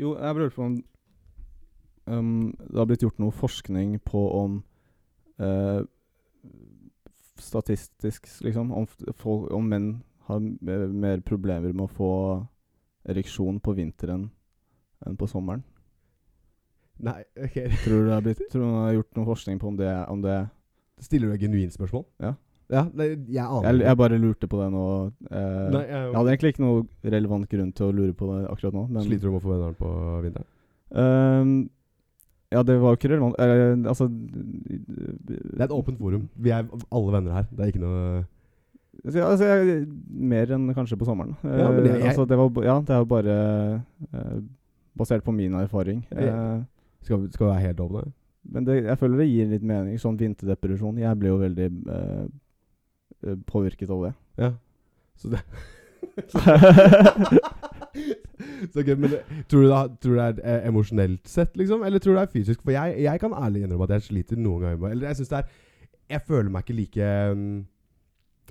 Jo, jeg bare lurte på om um, det har blitt gjort noe forskning på om eh, Statistisk, liksom, om, f- folk, om menn har m- mer problemer med å få ereksjon på vinteren enn på sommeren. Nei, ok. Tror du det har blitt Tror du man har gjort noe forskning på om det, om det Stiller du et genuint spørsmål? Ja. Ja, nei, jeg aner jeg, ikke. jeg bare lurte på det nå. eh, Nei, jeg, jeg hadde egentlig ikke noe relevant grunn til å lure på det akkurat nå, men Sliter du med å få venneren på vinteren? Ehm, ja, det var jo ikke relevant eh, Altså Det Det er et åpent forum. Vi er alle venner her. Det er ikke noe Altså, jeg, mer enn kanskje på sommeren. Ja, men det- Eh, altså, det var, ba- ja, det er jo bare eh, basert på min erfaring. Eh, Ja. Skal vi, skal vi være helt åpne? men det, jeg føler det gir litt mening. Sånn vinterdepresjon. Jeg ble jo veldig eh, eh, påvirket av det. Ja. Så det Så ok, men det- tror du, det, har- tror du det er eh, emosjonelt sett, liksom? Eller tror du det er fysisk? For jeg, jeg kan ærlig innrømme at jeg sliter noen ganger med Eller jeg syns det er Jeg føler meg ikke like mm,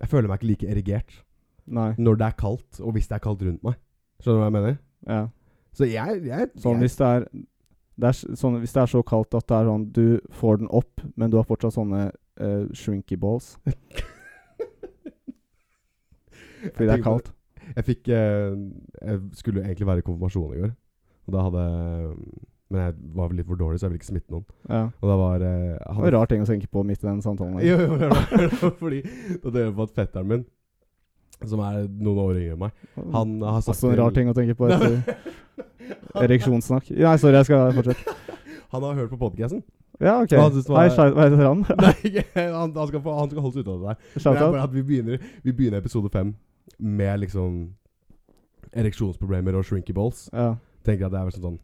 Jeg føler meg ikke like erigert Nei. når det er kaldt, og hvis det er kaldt rundt meg. Skjønner du hva jeg mener? Ja. Så jeg, jeg, Sånn jeg hvis det er, det er s- sånn, hvis det er så kaldt at det er sånn Du får den opp, men du har fortsatt sånne eh, shrinky balls. Fordi det tenker er på- kaldt. Jeg fikk eh, Jeg skulle egentlig være i konfirmasjon i går. Og da hadde eh, Men jeg var vel litt for dårlig, så jeg ville ikke smitte noen. Ja. Og da var eh, jeg Det hadde- var en rar ting å tenke på midt i den samtalen. her. Jo, jo, hør nå, hør nå, Fordi da dere på at fetteren min, som er noen år yngre enn meg Han har sagt Også en rar til- ting å tenke på Nei, etter han, ereksjonssnakk. Nei, sorry, jeg skal fortsette. han har hørt på podkasten. Ja, ok. Hva synes du var- Hei, Shai- hva heter han? Nei, ikke- han, han, skal få- han skal holde seg ute av det der. Men det er Shoutout? bare at vi begynner, vi begynner episode fem med liksom ereksjonsproblemer og shrinky balls. Ja. Tenker at det er vel sånn sånn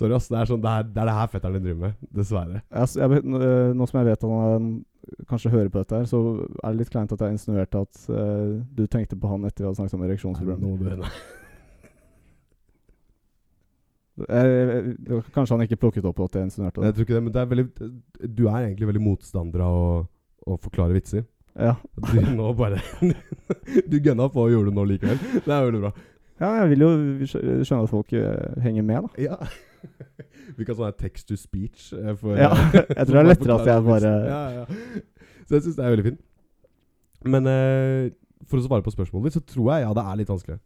Sorry, ass. Det er, sånn, det, er, det er det her fetteren din driver med. Dessverre. Jeg, s- jeg, vet- nå eh, nå som jeg vet han eh, kanskje hører på dette her, så er det litt kleint at jeg insinuerte at eh, du tenkte på han etter vi hadde snakket om ereksjonsproblemer. Eh, det var Kanskje han ikke plukket opp at jeg insinuerte det. Jeg tror ikke det, men det er veldig Du er egentlig veldig motstander av å, å forklare vitser. Ja. Du nå bare Du gønna på og gjorde det nå likevel. Det er veldig bra. ja, jeg vil jo skjø- skjønne at folk eh, henger med, da. Ja. Vi kan sånn her text to speech. eh, For, Ja, jeg tror det er lettere at jeg forklare bare vitser. ja, ja. Så jeg syns det er veldig fint. Men eh, for å svare på spørsmålet ditt, så tror jeg ja, det er litt vanskelig.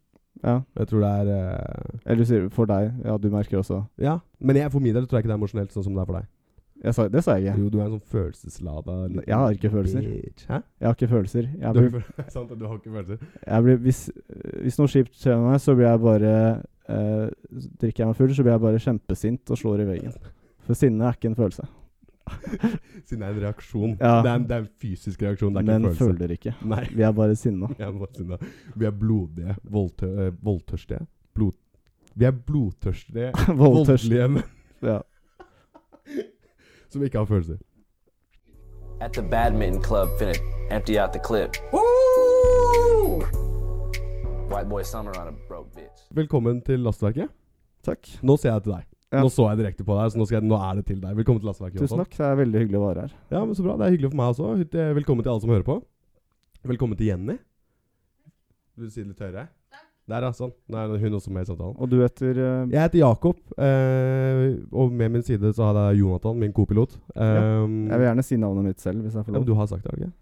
Ja. Jeg tror det er eh, Eller sier for deg. Ja, du merker også. Ja. Men jeg, for min del tror jeg ikke det er emosjonelt sånn som det er for deg. Jeg sa, det sa jeg ikke. Jo, du er en sånn følelseslada liten Jeg har ikke følelser. bitch. Hæ? Jeg har ikke følelser. Jeg Du har blir ikke følelser. Sant, du har ikke følelser. jeg blir, hvis, hvis noe kjipt skjer med meg, så blir jeg bare eh, Drikker jeg meg full, så blir jeg bare kjempesint og slår i veggen. For sinne er ikke en følelse. Siden det er en reaksjon. Ja. Det, er en, det er en fysisk reaksjon, det er ikke Men en følelse. føler ikke. Nei. Vi er bare sinna. Jeg må si det. Vi er blodige, voldtø eh, voldtørstige Blod Vi er blodtørstige, Voldtørst. voldelige menn Ja. som ikke har følelser. At the badminton club, finna empty out the clip. Woo! White boy summer on a broke bitch. Velkommen til Lastverket. Takk. Nå ser jeg til deg. Ja. Nå så jeg direkte på deg, så nå, skal jeg, nå er det til deg. Velkommen til Lastverket. Tusen Jonathan. takk. Det er veldig hyggelig å være her. Ja, men Så bra. Det er hyggelig for meg også. Hytt- eh, Velkommen til alle som hører på. Velkommen til Jenny. Vil du si det litt høyere? Der, ja. Sånn. Nå er hun også med i samtalen. Og du heter eh, Jeg heter Jakob, eh, og med min side så har jeg Jonathan, min kopilot. Um, Jeg vil gjerne si navnet mitt selv, hvis jeg får ja, men lov. du har sagt det, har du ikke?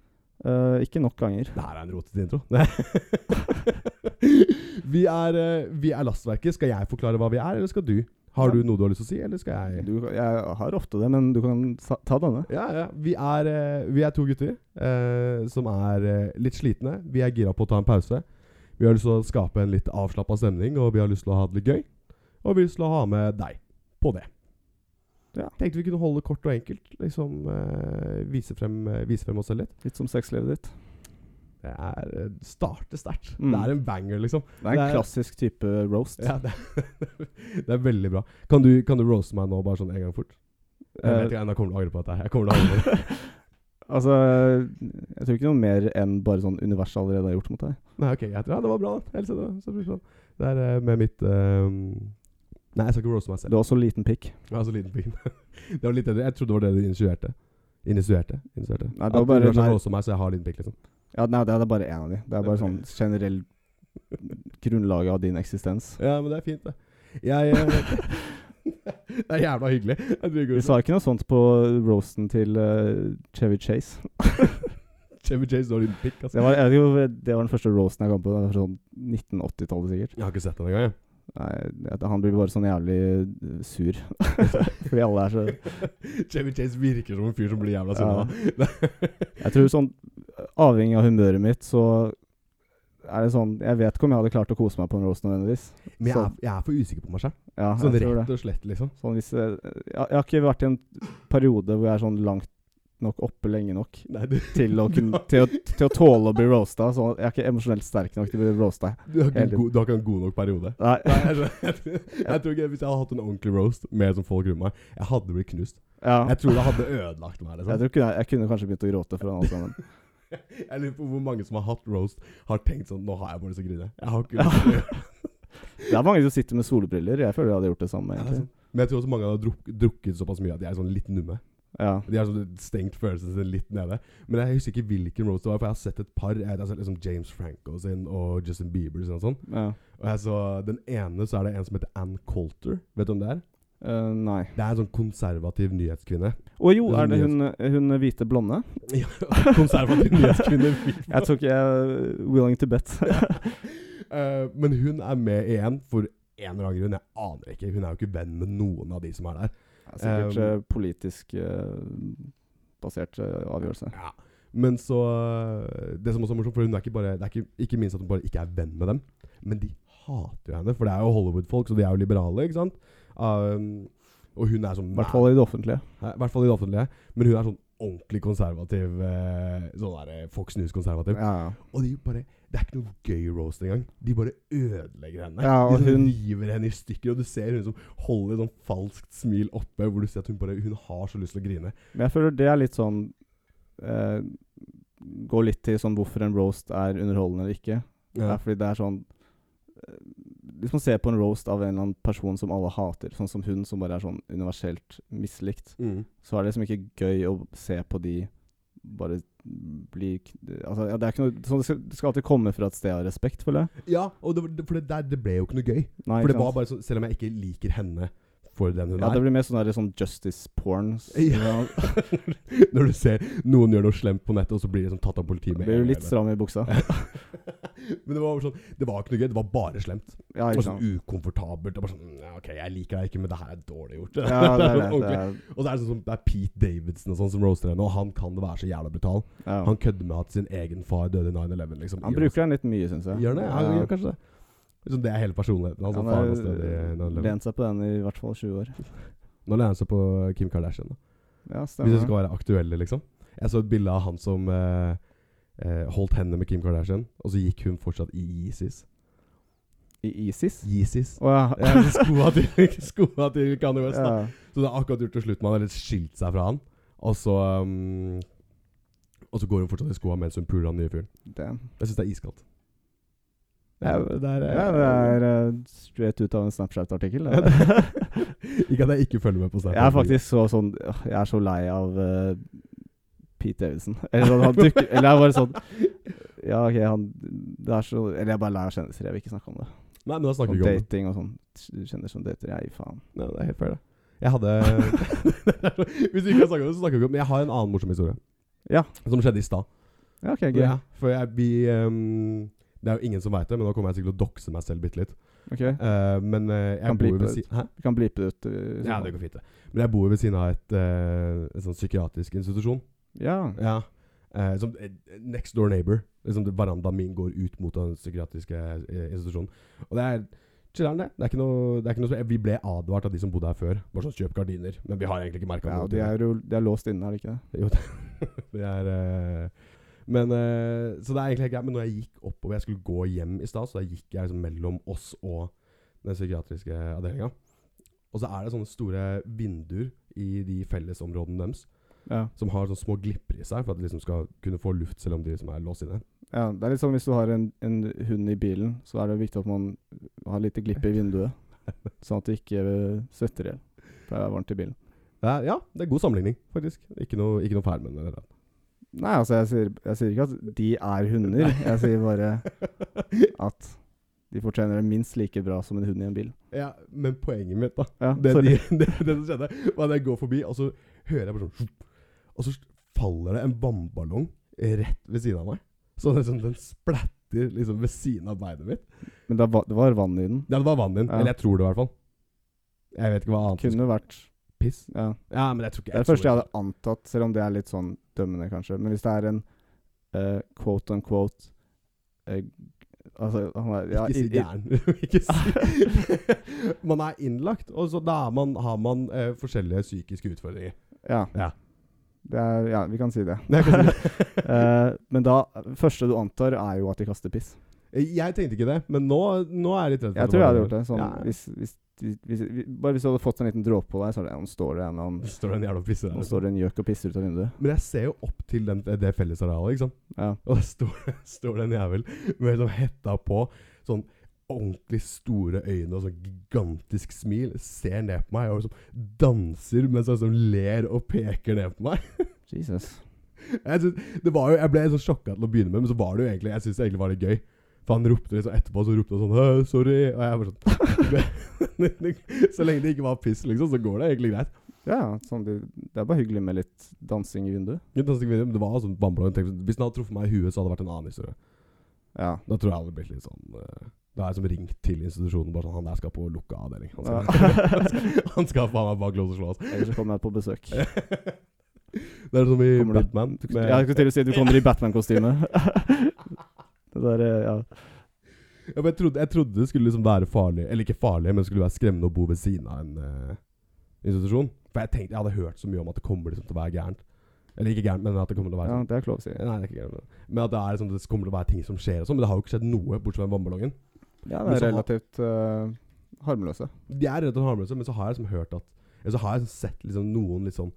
Eh, ikke nok ganger. Det her er en rotete intro. vi, er, eh, vi er Lastverket. Skal jeg forklare hva vi er, eller skal du? Har du noe du har lyst til å si, eller skal jeg Du, jeg har ofte det, men du kan sa- ta denne. ja, ja. Vi er, eh, vi er to gutter eh, som er eh, litt slitne. Vi er gira på å ta en pause. Vi har lyst til å skape en litt avslappa stemning, og vi har lyst til å ha det litt gøy. Og vi har lyst til å ha med deg på det. Ja. Tenkte vi kunne holde det kort og enkelt. Liksom eh, vise, frem, eh, vise frem oss selv litt. Litt som sexlivet ditt. Det er eh, starte sterkt. Mm. Det er en banger, liksom. Det er en Det er- klassisk type roast. Ja, det, det er veldig bra. Kan du, kan du roaste meg nå, bare sånn en gang fort? Jeg vet Eh, ikke, jeg kommer til å angre på dette. her. Jeg kommer til å angre på det. altså, jeg tror ikke noe mer enn bare sånn universet allerede har gjort mot deg. Nei, ok, jeg tror, ja, det var bra. da. Jeg setter det, setter pris på det. Det er eh, med mitt eh, Nei, jeg skal ikke roaste meg selv. Du har også liten pikk. Jeg har så liten pin. det var litt det. Jeg trodde det var det du initierte. Initierte? Initierte. Nei, det At var bare- du kanskje nei. roaste meg, så jeg har liten pikk, liksom. Ja, nei, det er bare én av de. Det er bare sånn generell grunnlaget av din eksistens. Ja, men det er fint, det. Jeg eh, Det er jævla hyggelig. Jeg driver Vi og sa ikke noe sånt på roasten til eh, Chevy Chase. Chevy Chase når din pikk, Det altså. var, jeg vet ikke hvorfor det var den første roasten jeg kom på. Det var sånn 1980-tallet sikkert. Jeg har ikke sett den engang, jeg. Nei, det- han blir bare sånn jævlig eh, sur. Fordi alle er så Chevy Chase virker som en fyr som blir jævla Ja. sinna. Jeg tror sånn Avhengig av humøret mitt, så er det sånn Jeg vet ikke om jeg hadde klart å kose meg på en roast nødvendigvis. Men jeg er, Sånn. jeg er for usikker på meg sjøl. Ja, Sånn jeg tror det. rett og slett, liksom. Sånn hvis, eh, jeg, jeg har ikke vært i en periode hvor jeg er sånn langt nok oppe lenge nok Nei, du, til å, kunne, til å, til å tåle å bli roasta. Så jeg er ikke emosjonelt sterk nok til å bli roasta. du, har ikke Helt- god, du har ikke en god nok periode. Nei. Nei, jeg, tror- jeg tror ikke Hvis jeg hadde hatt en ordentlig roast med sånn folk rundt meg, jeg hadde blitt knust. Ja. Jeg tror det hadde ødelagt meg. Jeg, Liksom. tror kunne, jeg kunne kanskje begynt å gråte for den sammen. Jeg lurer på hvor mange som har hatt roast, har tenkt sånn Nå har jeg bare lyst til å grine. Jeg har ikke lyst til å gjøre Det er mange som sitter med solbriller. Jeg føler jeg hadde gjort det samme. det». liksom. egentlig. Men jeg tror også mange har druk, drukket såpass mye at de er sånn litt numme. Ja. De har sånn stengt følelsen sin litt nede. Men jeg husker ikke hvilken roast det var, for jeg har sett et par. Jeg har sett liksom James Franco sin og Justin Bieber sin og sånn. ja. Og jeg så Den ene så er det en som heter Ann Coulter. Vet du om det er? Eh, nei. Det er en sånn konservativ nyhetskvinne. Å jo, er det hun, hun hvite blonde? Ja, konservativ nyhetskvinne. Jeg tok jeg willing to bet. Eh, men hun er med igjen for en eller annen grunn. Jeg aner ikke. Hun er jo ikke venn med noen av de som er der. Sikkert Um, eh, politisk eh, basert eh, avgjørelse. Ja. Men så eh, Det som også er morsomt, for hun er ikke bare Det er ikke, ikke minst at hun bare ikke er venn med dem, men de hater jo henne. For det er jo Hollywood-folk, så de er jo liberale, ikke sant? Um, og hun er sånn I hvert fall i det offentlige. Hæ? I hvert fall i det offentlige. Men hun er sånn ordentlig konservativ. Eh, sånn der eh, Fox News-konservativ. Ja, ja. Og de bare Det er ikke noe gøy roast engang. De bare ødelegger henne. Ja, og de sånn hun- river henne i stykker, og du ser hun som holder et sånn falskt smil oppe, hvor du ser at hun bare Hun har så lyst til å grine. Men jeg føler det er litt sånn eh, Går litt til sånn hvorfor en roast er underholdende eller ikke. Det Ja. er fordi det er sånn eh, Hvis man ser på en roast av en eller annen person som alle hater, sånn som hun, som bare er sånn universelt mislikt, Mm. så er det liksom ikke gøy å se på de bare bli k- Altså, ja, det er ikke noe sånn, det, skal, det skal alltid komme fra et sted av respekt, føler jeg. ja og det, var- det, for det, der, det ble jo ikke noe gøy. Nei, For ikke det var sant? bare sånn Selv om jeg ikke liker henne for den hun ja, er. det blir mer sånn, der, sånn justice porn. s- Ja. Når du ser noen gjør noe slemt på nettet, og så blir de sånn tatt av politiet med Blir en jo litt gang. stram i buksa. Men det var bare sånn Det var ikke noe gøy. Det var bare slemt. Ja, Og ikke sånn sant. ukomfortabelt. Og bare sånn "Ja, OK, jeg liker deg ikke, men det her er dårlig gjort. Ja, det er det. det Ordentlig. er, Og så er det sånn som- det er Pete Davidson og sånn som roaster henne, og han kan være så jævla brutal. ja. Han kødder med at sin egen far døde i 9-11, liksom. Han bruker den litt mye, syns jeg. Gjør han det? Ja, han Ja. gjør kanskje det. altså, Liksom, det er hele personligheten hans. Han at har faren hans døde i 9/11. lent seg på den i hvert fall 20 år. Nå lener han seg på Kim Kardashian, da. Ja, hvis det stemmer. skal være aktuelle, liksom. Jeg så et bilde av han som eh, eh, holdt hendene med Kim Kardashian, og så gikk hun fortsatt i ISIS. I ISIS? ISIS. Å ja. Ja, så skoa til, skoa til Kanye West, da. ja. Så det har akkurat gjort det slutt med han, eller skilt seg fra han. Og så um, Og så går hun fortsatt i skoa mens hun puler han nye fyren. Damn. Jeg syns det er iskaldt. Ja, det er, Ja, det er eh, straight ut av en Snapchat-artikkel. det. Ikke at jeg ikke følger med på Snap. Jeg er faktisk så sånn åh, Jeg er så lei av eh, Pete Davidson. Eller sånn, han dukker Eller jeg er bare sånn Ja, OK, han Det er så Eller jeg er bare lei av kjendiser. Jeg vil ikke snakke om det. Nei, men da Om snakker vi ikke om det. dating og sånn. Kjendiser som dater. Jeg gir faen. Nei, det er helt fair, det. Jeg hadde Hvis vi ikke har snakket om det, så snakker vi ikke om det. Men jeg har en annen morsom historie. Ja. Som skjedde i stad. Ja, OK, gøy. Ja, for jeg, vi um, Det er jo ingen som veit det, men nå kommer jeg sikkert til å dokse meg selv bitte litt. Ok, Eh, men eh, Kan jeg bor jo bleepe ved det siden Hæ? Vi kan blipe det ut. eh, Ja, det går fint, det. Men jeg bor jo ved siden av et, eh, et sånn psykiatrisk institusjon. Ja. Ja. Eh, som eh, next door neighbor. Liksom det- Verandaen min går ut mot den psykiatriske eh, institusjonen. Og det er chiller'n, det. Det er ikke noe, det er ikke noe som- Vi ble advart av de som bodde her før. Bare sånn kjøp gardiner. Men vi har egentlig ikke merka ja og de er jo de er låst inne, er det ikke det? Jo, det er eh, Men eh, Så det er egentlig helt greit. Men når jeg gikk oppover Jeg skulle gå hjem i stad, så da gikk jeg liksom mellom oss og den psykiatriske avdelinga. Og så er det sånne store vinduer i de fellesområdene deres Ja. som har sånne små glipper i seg, for at de liksom skal kunne få luft selv om de liksom er låst inne. ja. Det er litt sånn hvis du har en, en hund i bilen, så er det viktig at man har lite glipp i vinduet. Sånn at du ikke eh, svetter i hjel. For det er varmt i bilen. Det er, ja, det er god sammenligning, faktisk. Ikke noe, ikke noe feil med den. eller noe. Nei, altså, jeg sier, jeg sier ikke at de er hunder. Jeg sier bare at De fortjener det minst like bra som en hund i en bil. Ja, men poenget mitt, da Ja, Det, sorry. de, det, det som skjedde, var at jeg går forbi, og så hører jeg bare sånn shup, Og så faller det en vannballong rett ved siden av meg. Så det, er sånn, den splatter liksom ved siden av beinet mitt. Men det var, det var vann i den. Ja, det var vann din. Ja. Eller jeg tror det, i hvert fall. Jeg vet ikke hva annet. Kunne vært Piss. ja. Ja, men jeg tror ikke Det er det første jeg hadde antatt, selv om det er litt sånn dømmende, kanskje. Men hvis det er en eh, quote on quote eh, Altså, han er ja, ikke si i- i- gæren. Ikke si Man er innlagt, og så da er man, har man eh, forskjellige psykiske utfordringer. ja. Ja. Det er, ja, vi kan si det. Det kan du- Eh, men da første du antar, er jo at de kaster piss. jeg tenkte ikke det, men nå, nå er jeg litt redd. for Jeg at tror jeg hadde var gjort det. Sånn, Ja. hvis, hvis, hvis, hvis, bare hvis du hadde fått en liten dråpe på deg, så er det Nå står det en eller annen- Det Står en jævla pisse der. Nå står det en gjøk og pisser ut av vinduet. Men jeg ser jo opp til den, det fellesarealet, ikke sant? Ja. Og der står, står det en jævel med sånn hetta på, sånn ordentlig store øyne og sånn gigantisk smil, ser ned på meg og liksom danser mens han sånn ler og peker ned på meg. Jesus. Jeg, synes, det var jo, jeg ble sånn sjokka til å begynne med, men så var det jo egentlig, jeg synes det egentlig var litt gøy. For han ropte liksom etterpå, så ropte han sånn «Hø, 'sorry', og jeg bare sånn Så lenge det ikke var piss, liksom, så går det egentlig greit. Ja, ja, sånn, det, det er bare hyggelig med litt dansing i vinduet. Men det var sånn vannblå. Hvis den hadde truffet meg i huet, så hadde det vært en annen historie. Ja. Da tror jeg alle blir litt sånn eh, Da har jeg som ringt til institusjonen bare sånn Han der skal på lukka avdeling. Han skal, han skal, han skal faen meg bak lås og slå, Eller så kommer jeg på besøk. altså. Det er som i Kommer du- Batman. Du, med- ja, jeg skulle til å si at du kommer i Batman-kostyme. det der, eh, ja. Ja, men jeg, trodde, jeg trodde det skulle liksom være farlig, eller ikke farlig, men det skulle være skremmende å bo ved siden av en eh, institusjon. For jeg tenkte, jeg hadde hørt så mye om at det kommer liksom til å være gærent. Eller ikke gærent, men at det kommer til å være ja, sånn. det er ikke lov å si. Nei, det er ikke gærent. men- Men at det, er, sånn, det kommer til å være ting som skjer og sånn. Men det har jo ikke skjedd noe, bortsett fra den vannballongen. Ja, Men det så- er relativt eh, harmløse. De er redd og harmløse, men så har jeg liksom hørt at Eller så har jeg sett liksom noen litt sånn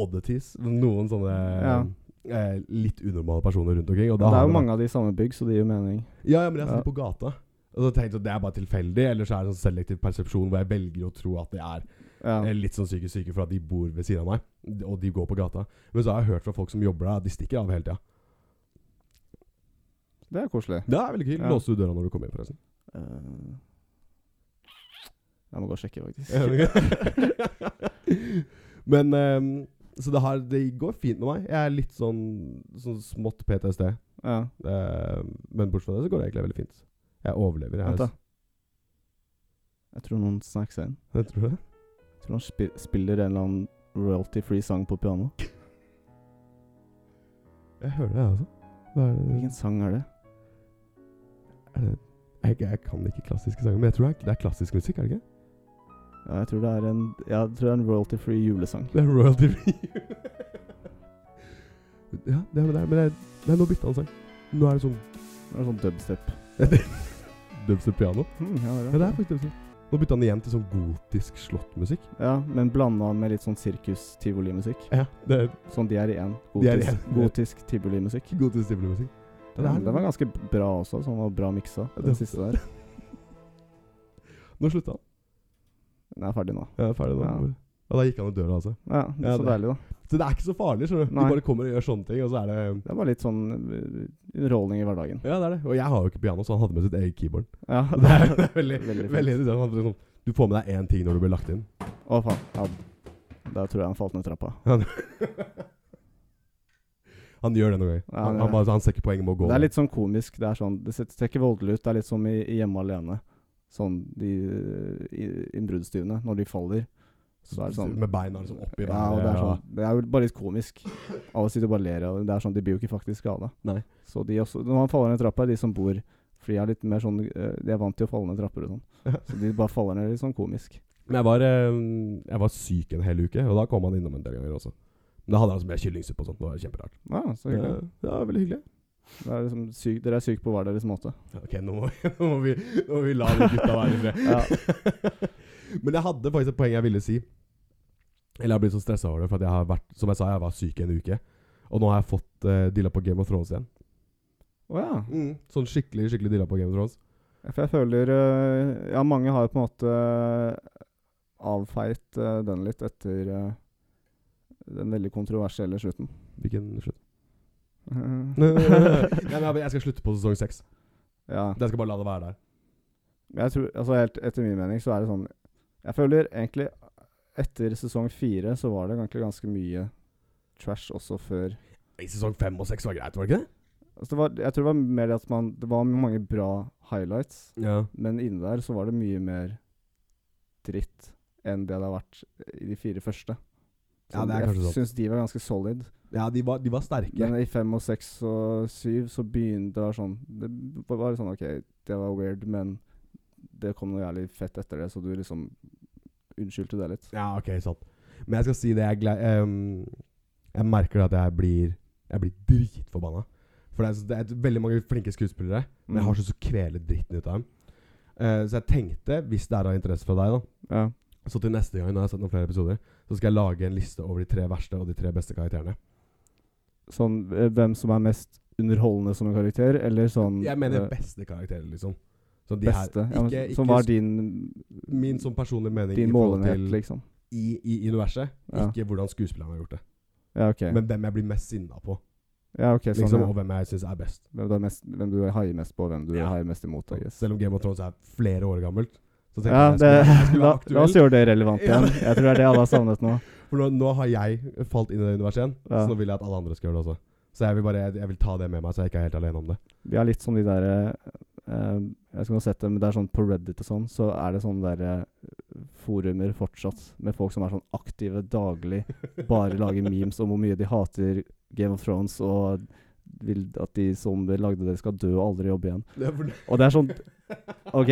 oddities. Noen sånne eh, litt unormale personer rundt omkring. Og da det har er jo det vært- mange av de i samme bygg, så det gir jo mening. Ja, ja, men jeg har sett Ja. det på gata. Og så tenkte jeg at det er bare tilfeldig, eller så er det sånn selektiv persepsjon hvor jeg velger å tro at det er Ja. eh, litt sånn psykisk syke for at de bor ved siden av meg, og de går på gata. Men så har jeg hørt fra folk som jobber der, at de stikker av hele tida. Det er koselig. Det er veldig kult. Ja. Låste du døra når du kom inn, forresten? Eh, jeg må gå og sjekke, faktisk. Men ehm, Så det, har, det går fint med meg. Jeg er litt sånn, sånn smått PTSD. Ja. Ehm, men bortsett fra det så går det egentlig veldig fint. Jeg overlever. Jeg, Vent, da. Jeg tror noen snakker seg inn. Jeg tror det. Jeg tror han spi- spiller en eller annen royalty-free sang på piano. Jeg hører det, jeg også. Hva er det? Hvilken sang er det? Er det? Jeg, jeg kan ikke klassiske sanger, men jeg tror det er, det er klassisk musikk, er det ikke? Ja, jeg tror det er en, ja, jeg tror det er en royalty-free julesang. Det er royalty free. ja, det er med det. er- Men det er, nei, nå bytta han sang. Nå er det sånn Det er sånn dubstep. dubstep piano. Hmm, ja, det Ja, er det det. er faktisk dubstep. Nå bytta han igjen til sånn gotisk slåttmusikk. Ja, men blanda med litt sånn sirkus-tivolimusikk. Ja, det er Sånn de er i én. De er i Gotisk, én. gotisk tivolimusikk. gotisk stimulusikk. Den, Ja, det er- den var ganske bra også, sånn var bra miksa, den Det- siste der. Nå slutta han. Den er ferdig nå. Jeg er ferdig nå. Ja. Og da gikk han ut døra, altså. Ja, det er Ja, så det- deilig, da. Så det er ikke så farlig, skjønner du. Nei. De bare kommer og gjør sånne ting, og så er det Det var litt sånn eh, underholdning i hverdagen. Ja, det er det. Og jeg har jo ikke piano, så han hadde med sitt eget keyboard. Ja, Så Det er, det er veldig, Veldig veldig, fint. interessant. Han hadde sånn, Du får med deg én ting når du blir lagt inn. Å, faen. Ja, da tror jeg han falt ned trappa. Han gjør det noen ganger. Ja, han, det han, er- bare, han ser ikke poenget med å gå. Det er litt sånn komisk. Det er sånn, det ser, ser ikke voldelig ut. Det er litt som i, i Hjemme alene. Sånn de i- innbruddstyvene, når de faller. Så er det sånn Med beina liksom oppi ja, og det, er sånn, det er jo bare litt komisk. Alle sitter og bare ler. Og det er sånn, de blir jo ikke faktisk skada. Nei. Så de også, når man faller ned trappa, de som bor For de er litt mer sånn eh, De er vant til å falle ned trapper og sånn. Så de bare faller ned litt sånn komisk. Men jeg var, eh, jeg var syk en hel uke, og da kom han innom en del ganger også. Men da hadde han altså mer kyllingsuppe og sånt. Det var kjemperart. Ja, så Ja, hyggelig. ja, veldig hyggelig. Det er liksom syk, dere er syke på hver deres måte. Ok, nå må, vi, nå, må vi, nå må vi la de gutta være i fred. Ja. Men jeg hadde faktisk et poeng jeg ville si. Eller jeg har blitt så stressa over det, for at jeg har vært Som jeg sa, jeg var syk i en uke. Og nå har jeg fått uh, dilla på Game of Thrones igjen. Å ja. Sånn skikkelig skikkelig dilla på Game of Thrones. Ja, For jeg føler øh, Ja, mange har jo på en måte øh, avfeit øh, den litt etter øh, den veldig kontroversielle slutten. Hvilken slutt? ja, Nei, nei, nei, jeg skal slutte på sesong seks. Ja. Jeg skal bare la det være der. Men jeg tror, altså helt etter min mening så er det sånn Jeg føler egentlig etter sesong fire så var det egentlig ganske mye trash også før. I sesong fem og seks var greit, var det ikke det? Altså det var, jeg tror det var mer det at man Det var mange bra highlights, Ja. men inni der så var det mye mer dritt enn det det har vært i de fire første. Sånn, Ja, det er jeg kanskje sant. syns de var ganske solid. Ja, de var, de var sterke. Men i fem og seks og syv så begynte det å være sånn Det var bare sånn OK, det var weird, men det kom noe jævlig fett etter det, så du liksom unnskyldte det litt. Ja, ok, sant. Men jeg skal si det. Jeg, er glad- ehm, jeg merker at jeg blir Jeg blir dritforbanna. For det er, så- det er veldig mange flinke skuespillere, men jeg har så så kvelet dritten ut av dem. Eh, så jeg tenkte, hvis det er av interesse for deg, da Ja. Så til neste gang når jeg har sett noen flere episoder, så skal jeg lage en liste over de tre verste og de tre beste karakterene. Sånn eh, hvem som er mest underholdende som en karakter, eller sånn Jeg mener eh, beste karakterer, liksom. Så de her- beste. ja, men ikke, ikke som var s- din, min sånn personlige mening i din forhold målenhet, til liksom. i, i universet. Ja. Ikke hvordan skuespillerne har gjort det. Ja, OK. Men hvem jeg blir mest sinna på, ja, ok, sånn, liksom, ja. og hvem jeg syns er best. Hvem du, er mest, hvem du haier mest på, hvem du Ja. haier mest imot. I guess. Selv om Game of Thrones er flere år gammelt. Så tenkte Ja, jeg jeg det, skulle, jeg la, skulle være la oss aktuell. gjøre det relevant Ja. igjen. Jeg tror det er det alle har savnet nå. For nå, nå har jeg falt inn i det universet igjen, Ja. så nå vil jeg at alle andre skal gjøre det også. Så jeg vil bare jeg, jeg vil ta det med meg, så jeg ikke er helt alene om det. Vi er litt som de der eh, eh, Jeg skal ikke ha sett det, men det er sånn på Reddit og sånn, så er det sånne der eh, forumer fortsatt med folk som er sånn aktive daglig, bare lager memes om hvor mye de hater Game of Thrones og vil at de som lagde det, skal dø og aldri jobbe igjen. Det er for- Og det er sånn OK,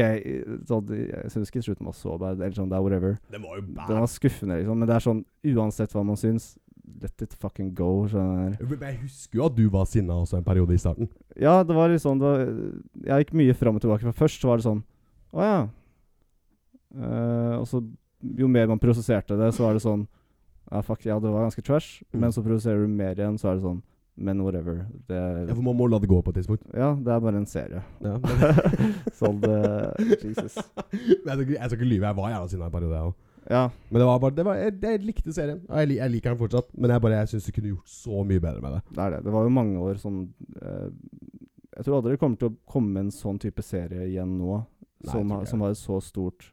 sånn, jeg syns ikke slutten var så bad, eller sånn, det er whatever. Den var jo bad. Den var skuffende, liksom, men det er sånn uansett hva man syns, let it fucking go. Skjønner jeg. Men jeg husker jo at du var sinna også en periode i starten. Ja, det var litt sånn det var, Jeg gikk mye fram og tilbake. For først så var det sånn Å ja. Eh, og så jo mer man prosesserte det, så var det sånn Ja, fuck, ja, det var ganske trash. Mm. Men så prosesserer du mer igjen, så er det sånn Men whatever. Det, Ja, for man må la det gå på et tidspunkt. ja, det er bare en serie. Ja, men sånn det Jesus. jeg, skal, ikke- jeg skal ikke lyve, jeg var jævla sinna en periode, jeg òg. Ja. Men det var bare, det var, jeg, jeg likte serien, og jeg, li- jeg liker den fortsatt. Men jeg bare, jeg syns du kunne gjort så mye bedre med det. Det er det. Det var jo mange år sånn eh, Jeg tror aldri det kommer til å komme en sånn type serie igjen nå, Nei, jeg som, tror har, ikke som har et så stort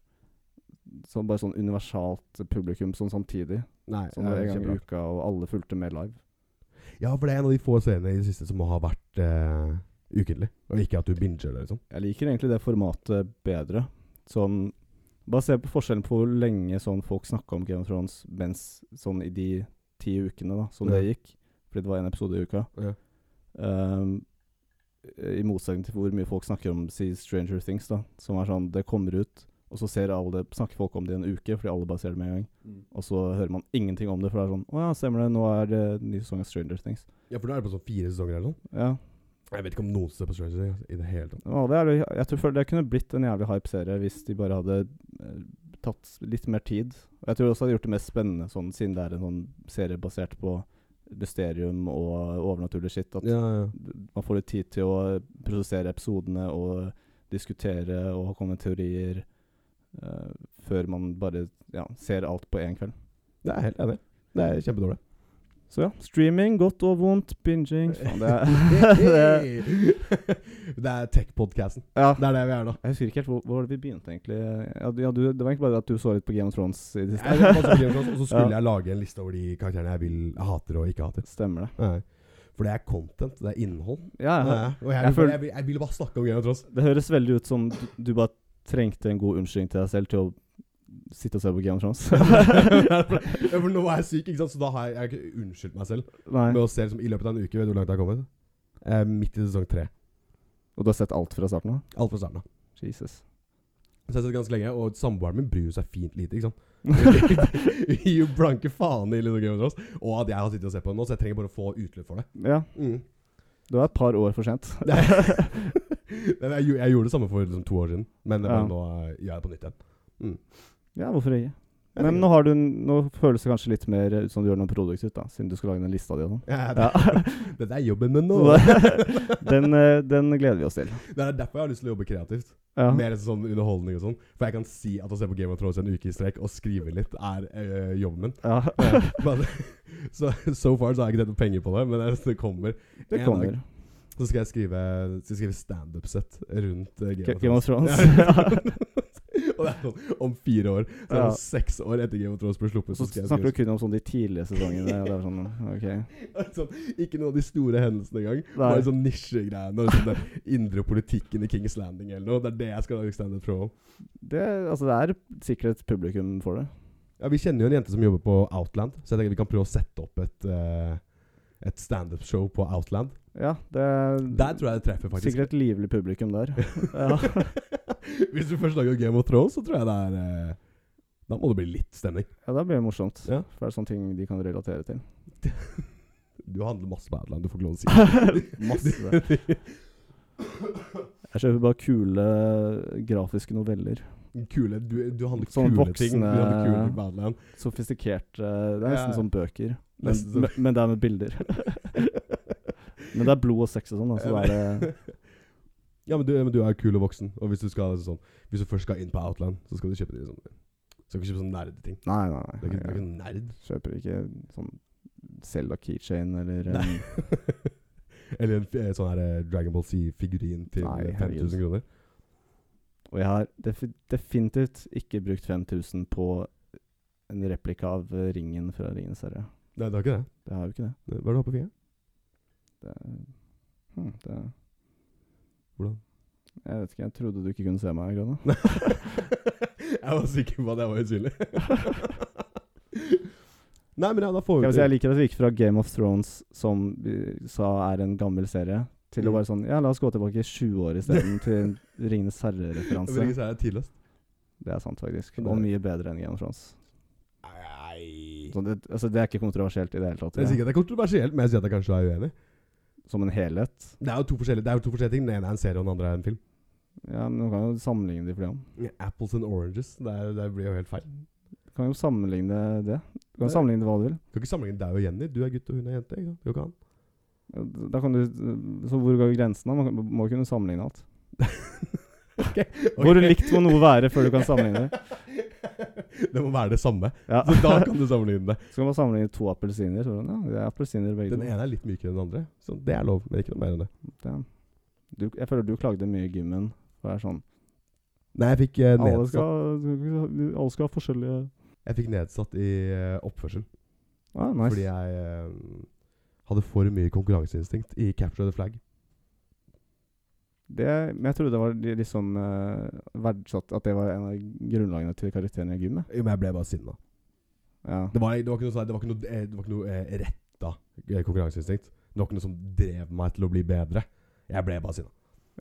som Bare sånn universalt publikum sånn samtidig. Nei, Sånn en det gang er i kjempebra. uka, og alle fulgte med live. Ja, for det er en av de få seriene i det siste som har vært eh, ukentlig. Og ikke at du binger det, liksom. Jeg liker egentlig det formatet bedre. Sånn Bare se på forskjellen på hvor lenge sånn folk snakka om Game of Thrones mens sånn i de ti ukene da som det Ja. gikk, fordi det var én episode i uka. Ja. Ehm, I motsetning til hvor mye folk snakker om si Stranger Things, da som er sånn Det kommer ut, og så ser alle det, snakker folk om det i en uke fordi alle bare ser det med en gang. Mm. Og så hører man ingenting om det, for det er sånn Å ja, stemmer det, nå er det ny sesong av Stranger Things. Ja, for nå er det på sånn fire sesonger eller noe. Ja, Jeg vet ikke om noen ser på Stranger Things i det hele tatt. Ja, det er, det- jeg tror føler det kunne blitt en jævlig hype serie hvis de bare hadde eh, tatt litt mer tid. Og jeg tror også de hadde gjort det mest spennende, sånn, siden det er en sånn serie basert på mysterium og overnaturlig shit. At Ja, ja. man får litt tid til å produsere episodene og diskutere og komme med teorier eh, før man bare ja, ser alt på én kveld. Det er jeg helt enig. i. Det er kjempedårlig. Så ja, streaming, godt og vondt, binging faen, det er, det er, det er tech-podkasten. ja, Det er det vi er nå. Jeg husker ikke helt hvor, hvor var det vi begynte, egentlig. Ja, du- ja, du, det var egentlig bare at du så litt på Game of Thrones i det Jeg vet hva som blir siste. gjort, Og så skulle jeg lage en liste over de karakterene jeg vil jeg hater og ikke hater. Stemmer det. Nei. For det er content, det er innhold. Ja, Nei. ja. Jeg Og jeg, vil, bare- føler- jeg, vil, jeg vil bare snakke om Game of Thrones. Det høres veldig ut som du, du bare trengte en god unnskyldning til deg selv til å sitte og se på Game of Thrones. Ja, For nå er jeg syk, ikke sant? så da har jeg, jeg har ikke unnskyldt meg selv. Med Nei. å se liksom, I løpet av en uke, vet du hvor langt jeg har kommet? Eh, midt i sesong tre. Og du har sett alt fra starten av? Alt fra starten av. Jesus. Så jeg har sett ganske lenge, og samboeren min bryr seg fint lite. ikke sant? Hun Gir jo blanke faen i liksom, Game of Thrones. Og at jeg har sittet og sett på det nå, så jeg trenger bare å få utløp for det. Ja, Mm. du er et par år for sent. Nei. Men jeg, gjo- jeg gjorde det samme for liksom, to år siden, men det Ja. var nå eh, gjør jeg det på nytt igjen. Ja, hvorfor ikke? Jeg Men tenker- nå, har du, en- nå føles det kanskje litt mer ut som du gjør noe produktivt, da, siden du skal lage den lista di og sånn. Ja, det, Ja. Dette er jobben min nå. Så Den, eh, den gleder vi oss til. Det er derfor jeg har lyst til å jobbe kreativt. Ja. Mer sånn underholdning og sånn. For jeg kan si at å se på Game of Thrones en uke i strekk og skrive litt er øh, jobben min. ja. Men, så so far så har jeg ikke tjent noen penger på det, men det- det kommer. Det En kommer. Så skal jeg skrive, skal jeg skrive standup-sett rundt eh, Ga- Game of Thrones. Og det er sånn om fire år. Så er det Ja. sånn seks år etter Game of Thrones ble sluppet. Så skal jeg snakker skrive du kun om sånn de tidlige sesongene. Og det er sånn, ok Sånn, ikke noen av de store hendelsene engang. Nei. Bare sånn nisjegreiene og sånn den indre politikken i Kings Landing eller noe. Det er det jeg skal lage standup show om. det, altså, det er sikkert et publikum for det. Ja, vi kjenner jo en jente som jobber på Outland, så jeg tenker vi kan prøve å sette opp et, eh, et standup-show på Outland. Ja, det er Der tror jeg det treffer, faktisk. sikkert et livlig publikum der. Ja. Hvis du først lager Game of Thrones, så tror jeg det er eh, Da må det bli litt stemning. Ja, det blir morsomt. Ja. For det er sånne ting de kan relatere til. Du handler masse på Outland, du får ikke lov å si det. Masse. Jeg kjøper bare kule grafiske noveller. Kule, du, du handler Sånn kule voksne- ting. Du handler kule ting på Outland. Sofistikerte Det er nesten Ja. som bøker. Men, Nesten som- men, men det er med bilder. men det er blod og sex og sånn, da, så da er det Ja, men du, men du er kul og voksen. Og hvis du, skal, altså, sånn, hvis du først skal inn på Outland, så skal du kjøpe de sånn Skal ikke kjøpe sånn nerdeting. Nei, nei, nei. Du er ikke, du er Jeg ikke nerd. kjøper ikke sånn Selda keychain eller Nei. um, Eller en fi- eh, sånn her eh, Dragon Ball Z-figurin til Nei, eh, herregud. 5000 kroner. Og jeg har defi definitivt ikke brukt 5000 på en replika av eh, ringen fra Ringenes herre. Nei, det er ikke det. Eh, Det har jo ikke det. Hva er det du har på fingeren? Det er, hm, det er Hvordan? Jeg vet ikke, jeg trodde du ikke kunne se meg. Grønne. jeg var sikker på at jeg var usynlig. Nei, men ja, da Skal får vi vi si, jeg liker at vi gikk fra Game of Thrones, som vi sa er en gammel serie, til å Mm. bare sånn Ja, la oss gå tilbake 20 år isteden, til en Ringenes herre-referanse. Ringenes herre er tidløst. Det er sant, faktisk. Det er- Og mye bedre enn Game of Thrones. Nei Så det, altså, det er ikke kontroversielt i det hele tatt. Jeg sier Ja. ikke at det er kontroversielt, men jeg sier at jeg kanskje er uenig. Som en helhet. Det er jo to forskjellige, det er jo to forskjellige ting. Den ene er en serie, og den andre er en film. Ja, men du kan jo sammenligne de for dem. Apples and oranges. Det, er, det blir jo helt feil. Du kan jo sammenligne det. Du kan Det- sammenligne hva du vil. Kan ikke sammenligne deg og Jenny. Du er gutt, og hun er jente. Ikke sant? Det går ikke an. Da kan du, så hvor går grensen? da? Man kan- må kunne sammenligne alt. Hvor likt må noe være før du kan sammenligne det? Det må være det samme. Ja. Så da kan du sammenligne det. Så kan man sammenligne to appelsiner. Så er det sånn, ja, det er appelsiner begge Den to. ene er litt mykere enn den andre, så det er lov. Men ikke noe mer enn det. Damn. Du, jeg føler du klagde mye i gymmen. For det er sånn Nei, jeg fikk, eh, alle nedsatt, skal, alle skal ha forskjellige jeg fikk nedsatt i eh, oppførsel ah, nice. fordi jeg eh, hadde for mye konkurranseinstinkt i Capture the Flag. det, Men jeg trodde det var li- liksom eh, verdsatt At det var en av grunnlagene til karakteren i gymmet. Jo, men jeg ble bare sinna. Ja. Det var, det var ikke noe, sånn- det var ikke noe, eh, det var ikke noe eh, retta eh, konkurranseinstinkt. Det var ikke noe som drev meg til å bli bedre. Jeg ble bare sinna.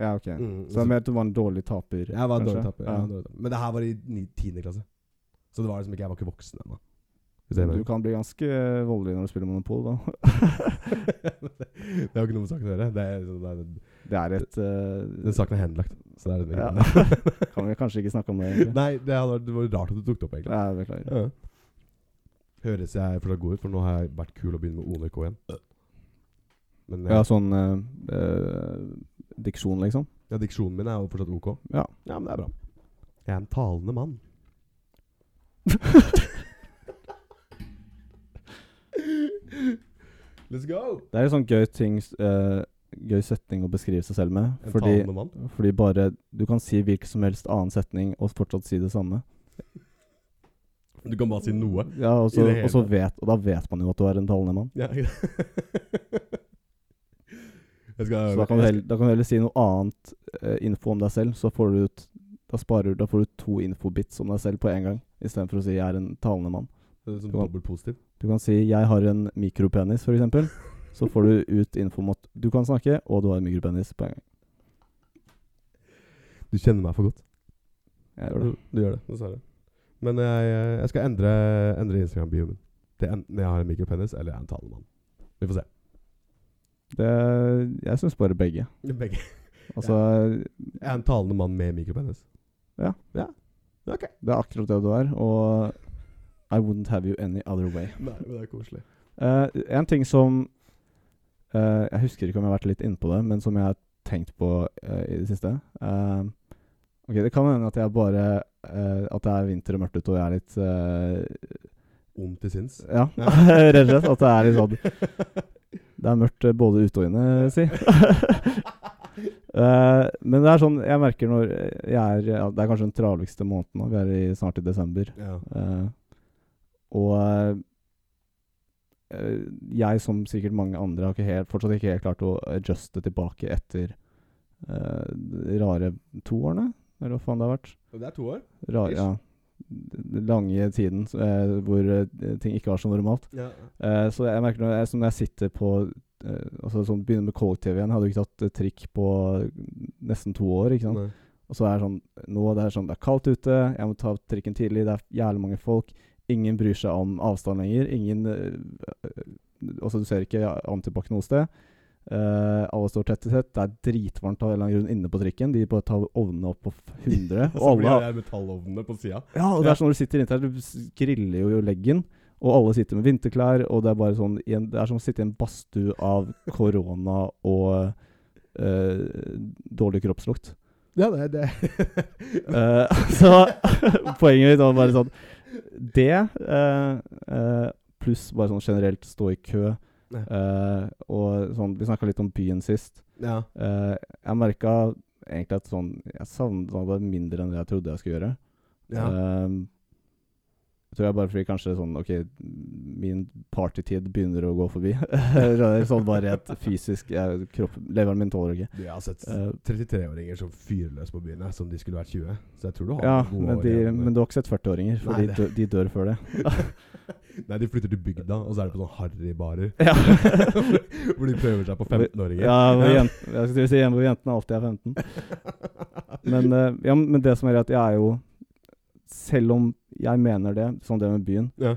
ja, ok. Mm, Så det er mer at du var en dårlig taper? Jeg var en dårlig kanskje? tapper. jeg var en dårlig tapper. Men det her var i ni- tiende klasse. Så det var liksom ikke, jeg var ikke voksen ennå. Hvis jeg Ja. mener. Du kan bli ganske eh, voldelig når du spiller Monopol, da. det har ikke noe med saken å gjøre. Det er, liksom, det er, Det er et eh, den saken er henlagt. Så det er det ja. ikke. Kan vi kanskje ikke snakke om det, egentlig? Nei, det, hadde, vært- det var rart at du tok det opp, egentlig. Ja, beklager. Ja. Høres jeg fortsatt god ut, for nå har jeg vært kul og begynt med ONK igjen. Men Ja, eh, sånn eh, eh, diksjon, liksom? ja, diksjonen min er jo fortsatt OK. Ja. ja, men det er bra. Jeg er en talende mann. Let's go! Det er en sånn gøy ting s- eh, Gøy setning å beskrive seg selv med. En Fordi, talende mann. fordi bare Du kan si hvilken som helst annen setning og fortsatt si det samme. Du kan bare si noe. Ja, og, så, I det hele og, så tatt. vet, og da vet man jo at du er en talende mann. Ja. Jeg skal, Så da kan, du heller, da kan du heller si noe annet eh, info om deg selv, så får du ut Da sparer du Da får du to infobits om deg selv på en gang, istedenfor å si 'jeg er en talende mann'. Sånn dobbelt positiv. Du kan si 'jeg har en mikropenis', for eksempel. Så får du ut info om at du kan snakke, og du har en mikropenis på en gang. Du kjenner meg for godt. Jeg gjør Du, det. du gjør det, dessverre. Men jeg, jeg skal endre, endre Instagram-bioen min. Til enten jeg har en mikropenis eller jeg er en talemann. Vi får se. det jeg syns bare begge. Begge. Altså, Jeg er en talende mann med mikropenis. Ja. ja. Ok. det er akkurat det du er, og I wouldn't have you any other way. Nei, men det er koselig. Eh, en ting som eh, Jeg husker ikke om jeg har vært litt inne på det, men som jeg har tenkt på eh, i det siste. Eh, ok, Det kan hende at jeg bare eh, At det er vinter og mørkt ute, og jeg er litt eh, Ond til sinns. Ja, rett og slett. At det er litt sånn Det er mørkt eh, både ute og inne, si. Eh, men det er sånn jeg merker når jeg er ja, Det er kanskje den travligste måneden nå. Vi er i, snart i desember. Ja. Eh, og eh, jeg, som sikkert mange andre, har ikke helt, fortsatt ikke helt klart å adjuste tilbake etter eh, de rare to årene, eller hva faen det har vært. Og det er to år. Rare, Ish. ja. Den lange tiden eh, hvor eh, ting ikke var så normalt. Ja. Eh, så jeg merker når jeg, som når jeg sitter på eh, altså sånn, Begynner med kollektiv igjen. Jeg hadde jo ikke tatt eh, trikk på nesten to år. ikke sant? Nei. Og så er det sånn Nå det er sånn Det er kaldt ute, jeg må ta trikken tidlig, det er jævlig mange folk. Ingen bryr seg om avstand lenger. Ingen eh, øh, Altså, du ser ikke antibac noe sted. Eh, alle står tett i tett. Det er dritvarmt av en eller annen grunn inne på trikken. De bare tar ovnene opp på f- 100. Og Og så alle blir det har, der metallovnene på sida. ja, og det er sånn når du sitter inntil her, du s- griller jo leggen. Og alle sitter med vinterklær, og det er bare sånn i en, Det er som å sitte i en badstue av korona og eh, dårlig kroppslukt. Ja, det, det. Eh, så poenget mitt var bare sånn Det eh, eh, pluss bare sånn generelt stå i kø. Ja. eh, og sånn Vi snakka litt om byen sist. Ja. Eh, jeg merka egentlig at sånn Jeg savna det mindre enn det jeg trodde jeg skulle gjøre. ja. Ehm, jeg tror jeg bare fordi kanskje sånn Ok, min partytid begynner å gå forbi. sånn bare rett fysisk jeg, kropp, Leveren min tåler ikke. Du, jeg har sett Eh, 33-åringer som fyrer løs på byen, jeg, som de skulle vært 20. Så jeg tror du har ja, gode men, år de, igjen. men du har ikke sett 40-åringer, for Nei, de, dø, de dør før det. Nei, de flytter til bygda, og så er det på sånn harrybarer. Ja. hvor de prøver seg på 15-åringer. Ja, hvor jent, jeg skulle til å si hjemme hvor jentene alltid er 15. Men, eh, ja, men det som er at jeg er jo Selv om jeg mener det, som det med byen, Ja.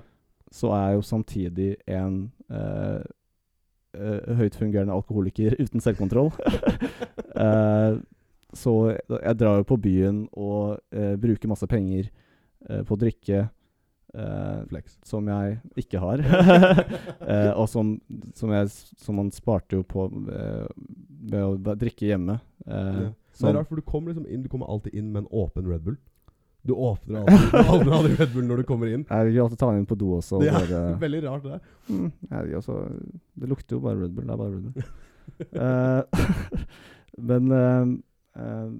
så er jeg jo samtidig en eh, eh, høyt fungerende alkoholiker uten selvkontroll. Eh, så jeg drar jo på byen og eh, bruker masse penger eh, på å drikke. eh, Flex. som jeg ikke har. eh, og som, som, jeg, s- som man sparte jo på eh, ved å ba- drikke hjemme. Eh, Ja. Det som- er rart, for du kommer liksom inn Du kommer alltid inn med en åpen Red Bull. Du åpner aldri, du åpner aldri Red Bull når du kommer inn. jeg vil jo alltid ta den inn på do også. og Ja. bare- Veldig rart, det der. Mm, jeg vet ikke, altså, det lukter jo bare Red Bull. Det er bare Red Bull. Eh, men eh, eh,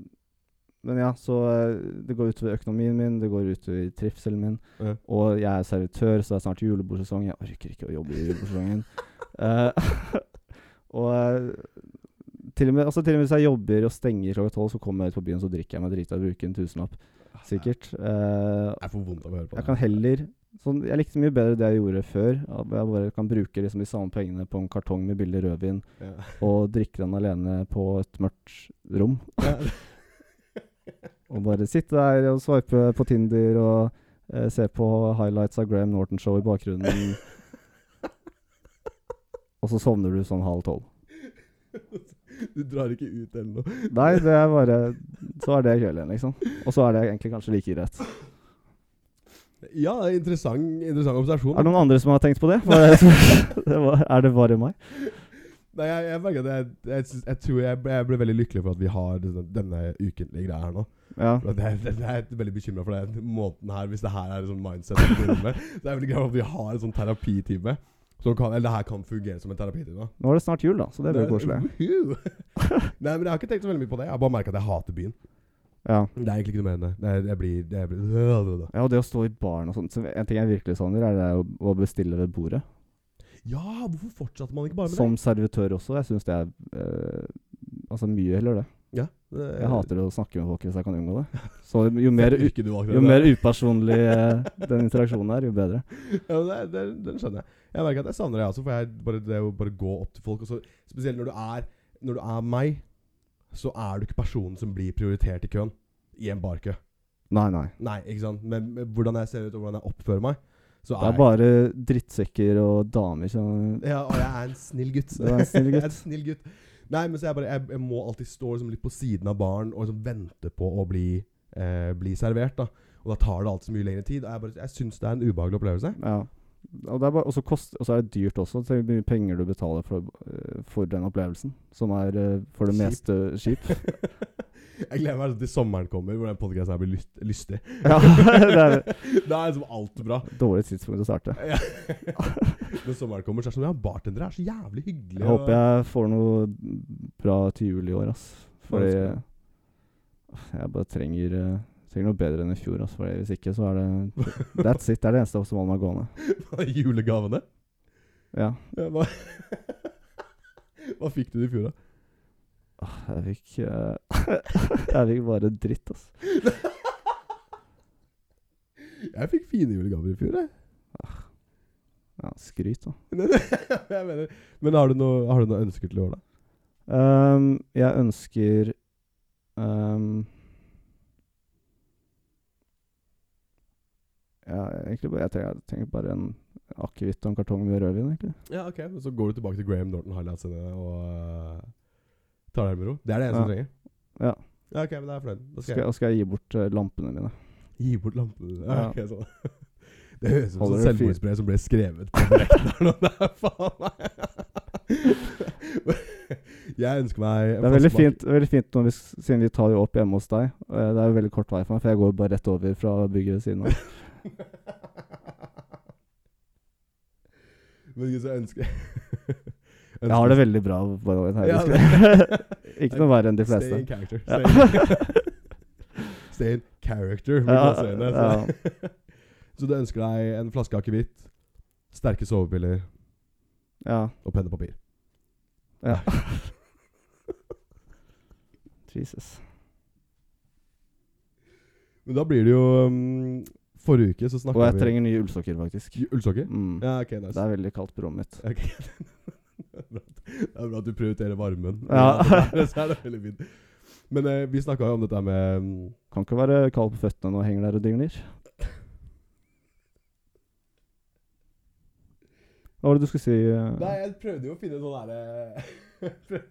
men ja, så eh, det går utover økonomien min, det går utover trivselen min. Ja. Og jeg er servitør, så det er snart julebordsesong. Jeg orker ikke å jobbe i julebordsesongen. Eh, og eh, til og, med, altså, til og med hvis jeg jobber og stenger klokka tolv, så kommer jeg ut på byen, så drikker jeg meg drita og bruker en tusenlapp. Sikkert. Eh, Jeg får vondt av å høre på jeg kan heller sånn, Jeg likte mye bedre det jeg gjorde før. at Jeg bare kan bruke liksom de samme pengene på en kartong med billig rødvin Ja. og drikke den alene på et mørkt rom. og bare sitte der og swipe på Tinder og eh, se på highlights av Graham Norton Show i bakgrunnen. og så sovner du sånn halv tolv. Du drar ikke ut eller noe. Nei, det er bare Så er det kvelden, liksom. Og så er det egentlig kanskje like greit. Ja, det er interessant, interessant observasjon. Er det noen andre som har tenkt på det? For- det var, er det bare meg? Nei, jeg, jeg, merker at jeg, jeg, syns- jeg tror jeg ble, jeg ble veldig lykkelig for at vi har denne, denne ukentlige greia her nå. Ja. For at Jeg, jeg, jeg er veldig bekymra for den måneden her, hvis det her er sånn mindset. vi begynner med. Så jeg er veldig glad for at vi har en sånn terapitime. Som kan, eller det her kan fungere som en terapitime. da. Nå er det snart jul, da, så det blir jo koselig. Woohoo! Nei, men jeg har ikke tenkt så veldig mye på det. Jeg har bare merka at jeg hater byen. Ja. Det er egentlig ikke noe mer enn det. det. er- Jeg blir, jeg blir ja, og det å stå i baren og sånn så En ting jeg virkelig savner, er det å, å bestille ved bordet. Ja, hvorfor fortsatte man ikke bare med det? Som servitør også. Jeg syns det er eh, Altså mye heller det. Ja, Eh. Jeg hater å snakke med folk hvis jeg kan unngå det. Så jo mer, u- uke du valgte. jo mer upersonlig eh, den interaksjonen er, jo bedre. Ja, men det, det, den skjønner jeg. Jeg merker at jeg savner det, jeg også. For jeg bare, det å bare gå opp til folk og så, Spesielt når du er Når du er meg, så er du ikke personen som blir prioritert i køen. I en barkø. Nei, nei. Nei, ikke sant. Men men hvordan jeg ser ut og hvordan jeg oppfører meg, så Det er, er bare drittsekker og damer som jeg Ja, og jeg er en snill gutt. Du er en snill jeg er gutt. en snill gutt. Nei, men så jeg bare Jeg, jeg må alltid stå liksom litt på siden av baren og liksom vente på å bli, eh, bli servert, da. Og da tar det alltid så mye lengre tid. Og jeg, bare- jeg syns det er en ubehagelig opplevelse. Ja. Og, det er bare, og, så kost, og så er det dyrt også. Tenk hvor mye penger du betaler for, eh, for den opplevelsen, som er eh, for det Kjip. meste kjip. Jeg gleder meg sånn til sommeren kommer, hvor den podkasten her blir lyst, lystig. Ja, det er Da er liksom alt bra. dårlig tidspunkt å starte. Ja. Når sommeren kommer, så er det sånn Ja, bartendere er så jævlig hyggelige. Jeg håper jeg får noe bra til jul i år, ass. Fordi Ønsker. jeg bare trenger, eh, trenger noe bedre enn i fjor, ass. Fordi hvis ikke, så er det That's it. Det er det eneste som holder meg gående. jeg Julegavene. Ja. Ja, Hva, hva fikk du i fjor, da? Åh, Jeg fikk eh, Jeg fikk bare dritt, ass. Jeg fikk fine julegaver i fjor, jeg. Ja, skryt, da. Men- jeg mener, men har du noe, har du noe ønsker til i år, da? Ehm, jeg ønsker ehm, ja, egentlig bare, jeg, trenger, jeg trenger bare en akevitt og en kartong med rødvin, egentlig. Ja, ok. Så går du tilbake til Graham Norton highlights-scene og øh, tar deg med ro. Det er det eneste Ja. du trenger? Ja. ja. Ok, men da er jeg fornøyd. Da skal Skal, og skal jeg gi bort eh, lampene mine. jeg gi bort lampene dine. Ja, Ja. ok, sånn. Det høres ut som Holder et det fint. selvmordsbrev som ble skrevet på direkten her nå. Det er faen meg Jeg ønsker meg en Det er veldig flaske fint, veldig fint når vi, s- siden vi tar jo opp hjemme hos deg. Eh, Det er jo veldig kort vei for meg, for jeg går bare rett over fra bygget ved siden av. Men ikke så ønsker Jeg har det veldig bra. by the way, her. Ja, Ikke noe verre enn de Stay in fleste. character. Ja. Stay, Stay in character. vil Ja, jeg si det, så. så du ønsker deg en flaske akevitt, sterke sovepiller Ja. og penn og papir. ja. Jesus. Men da blir det jo um, Forrige uke så snakka Og vi jeg trenger nye ullsokker, faktisk. Ullsokker? Mm. Ja, ok, nice. Det er veldig kaldt på rommet mitt. Ok. Det er bra at- det er bra at du prioriterer varmen. Ja. så er det veldig fint. Men eh, vi snakka jo om dette her med um, Kan ikke være kald på føttene når jeg henger der og dingler. Hva var det du skulle si? eh? Nei, jeg prøvde jo å finne sånn derre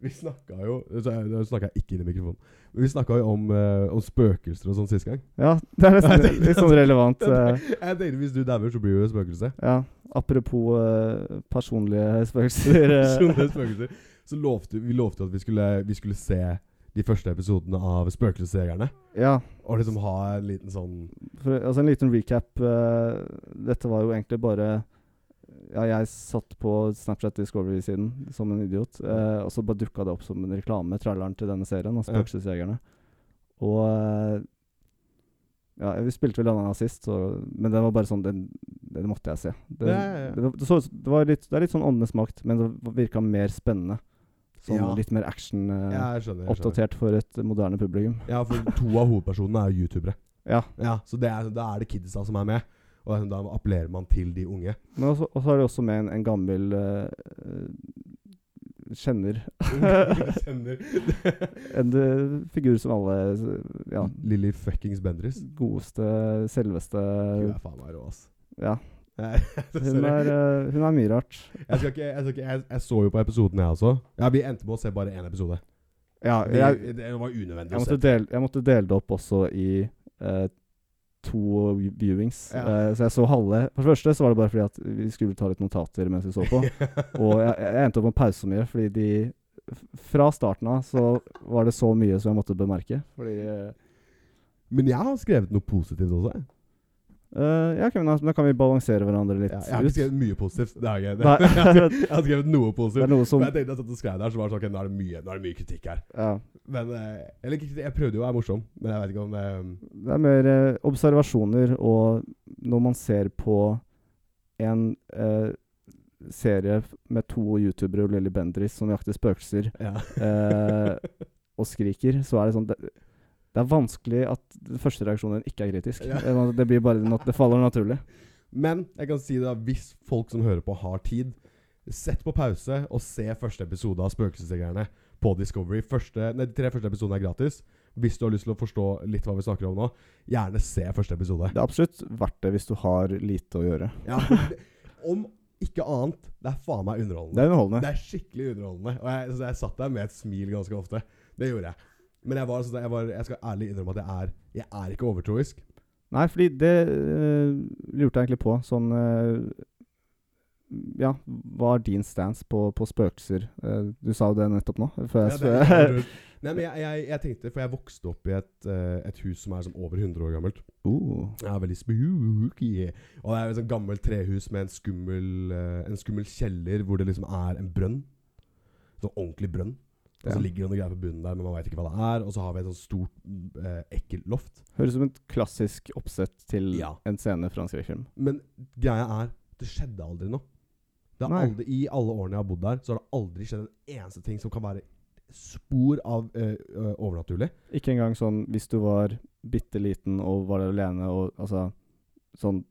Vi snakka jo så jeg- Nå snakka jeg ikke inn i mikrofonen. Men vi snakka jo om, eh, om spøkelser og sånn sist gang. Ja, det er Nei, jeg nesten tenkte- litt sånn relevant. eh. Jeg tenkte hvis du dauer, så blir du et spøkelse. Ja, apropos eh, personlige spøkelser. eh, Sånne spøkelser. Så lovte vi lovte at vi skulle, vi skulle se de første episodene av Spøkelsesjegerne. ja, Og liksom ha en liten sånn for, altså en liten recap. eh, dette var jo egentlig bare Ja, jeg satt på Snapchat Discovery-siden som en idiot, eh, og så bare dukka det opp som en reklame, traileren til denne serien, altså Ja. Spøkelsesjegerne. Og eh, ja, vi spilte vel Ananas sist, så, men den var bare sånn Den, den måtte jeg se. Det, Ja, ja, ja. det, var- det, så, det, var litt, det er litt sånn Åndenes makt, men det virka mer spennende. Sånn Ja. litt mer action. eh, Ja, jeg skjønner. Jeg skjønner. Oppdatert for et moderne publikum. Ja, for to av hovedpersonene er jo youtubere. Ja. Ja, Så det er, da er det kidsa som er med. Og det er sånn, da appellerer man til de unge. Men også, og så er det også med en, en gammel eh, eh, kjenner. Kjenner En eh, figur som alle eh, Ja, Lilly fuckings Bendriss. godeste, selveste Hun er faen meg rå, ass. Ja. Nei, Hun Sorry. er, eh, hun er mye rart. Jeg, skal ikke, jeg, skal ikke, jeg, jeg så jo på episoden, jeg også. Ja, Vi endte med å se bare én episode. Ja, Vi, jeg, det var unødvendig jeg, å måtte se. dele, jeg måtte dele det opp også i eh, to viewings. Ja. Eh, så jeg så halve. For det første så var det bare fordi at vi skulle ta litt notater mens vi så på. Og jeg, jeg endte opp med å pause så mye, fordi de f- Fra starten av så var det så mye som jeg måtte bemerke. Fordi Men jeg har skrevet noe positivt også. jeg. eh, Ja, ok, men da, da kan vi balansere hverandre litt Ja, jeg har ikke ut. skrevet mye positivt. Det har jeg ikke. Nei. Jeg har skrevet Det er noe sånn- positivt. noe som Men jeg tenkte jeg satt og skrev der, så var det sånn ok, nå er det mye, nå er det mye kritikk her. Ja. Men eh, Eller ikke kritikk, jeg prøvde jo å være morsom, men jeg vet ikke om eh, Det er mer eh, observasjoner, og når man ser på en eh, serie f- med to youtubere og Lilly Bendriss som jakter spøkelser eh, og skriker, så er det sånn det, det er vanskelig at den første reaksjonen din ikke er kritisk. Ja. Det, det blir bare nat Det faller naturlig. Men jeg kan si det da, hvis folk som hører på har tid, sett på pause og se første episode av Spøkelsesjegerne på Discovery. Første, nei, de tre første episodene er gratis. Hvis du har lyst til å forstå litt hva vi snakker om nå, gjerne se første episode. Det er absolutt verdt det hvis du har lite å gjøre. Ja, for det- om ikke annet, det er faen meg Det underholdende. er underholdende. Det er skikkelig underholdende. Og jeg, så jeg satt der med et smil ganske ofte. Det gjorde jeg. Men jeg, var, sånn- jeg, var, jeg skal ærlig innrømme at jeg er, jeg er ikke overtroisk. Nei, fordi det eh, lurte jeg egentlig på. Sånn eh, Ja, hva er din stance på, på spøkelser? Eh, du sa jo det nettopp nå. Før jeg Ja, det er spør. helt Nei, men jeg, jeg, jeg tenkte, for jeg vokste opp i et, eh, et hus som er sånn over 100 år gammelt. Uh, Ja, veldig spooky. Og det er et sånt gammelt trehus med en skummel, eh, en skummel kjeller hvor det liksom er en brønn. Sånn ordentlig brønn. Og Ja. så ligger det noe greier på bunnen der, men man veit ikke hva det er. Og så har vi et sånt stort, eh, ekkelt loft. høres ut som et klassisk oppsett til Ja. en scene fra en skrekkfilm. Men greia er, det skjedde aldri noe. Det har Nei. aldri, I alle årene jeg har bodd der, så har det aldri skjedd en eneste ting som kan være spor av eh, eh, overnaturlig. Ikke engang sånn hvis du var bitte liten og var der alene og altså sånn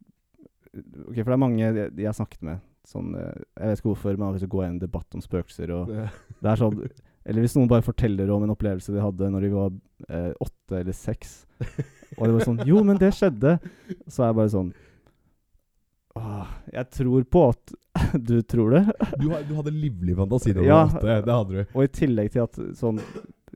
Ok, for det er mange jeg, jeg har snakket med sånn eh, Jeg vet ikke hvorfor, men av og til så går jeg i en debatt om spøkelser og Eh, Det er sånn Eller hvis noen bare forteller om en opplevelse de hadde når de var eh, åtte eller seks, og det var sånn Jo, men det skjedde. Så er jeg bare sånn Åh, jeg tror på at du tror det. Du, har, du hadde livlig fantasi da du Ja. var åtte. Det hadde du. Og i tillegg til at sånn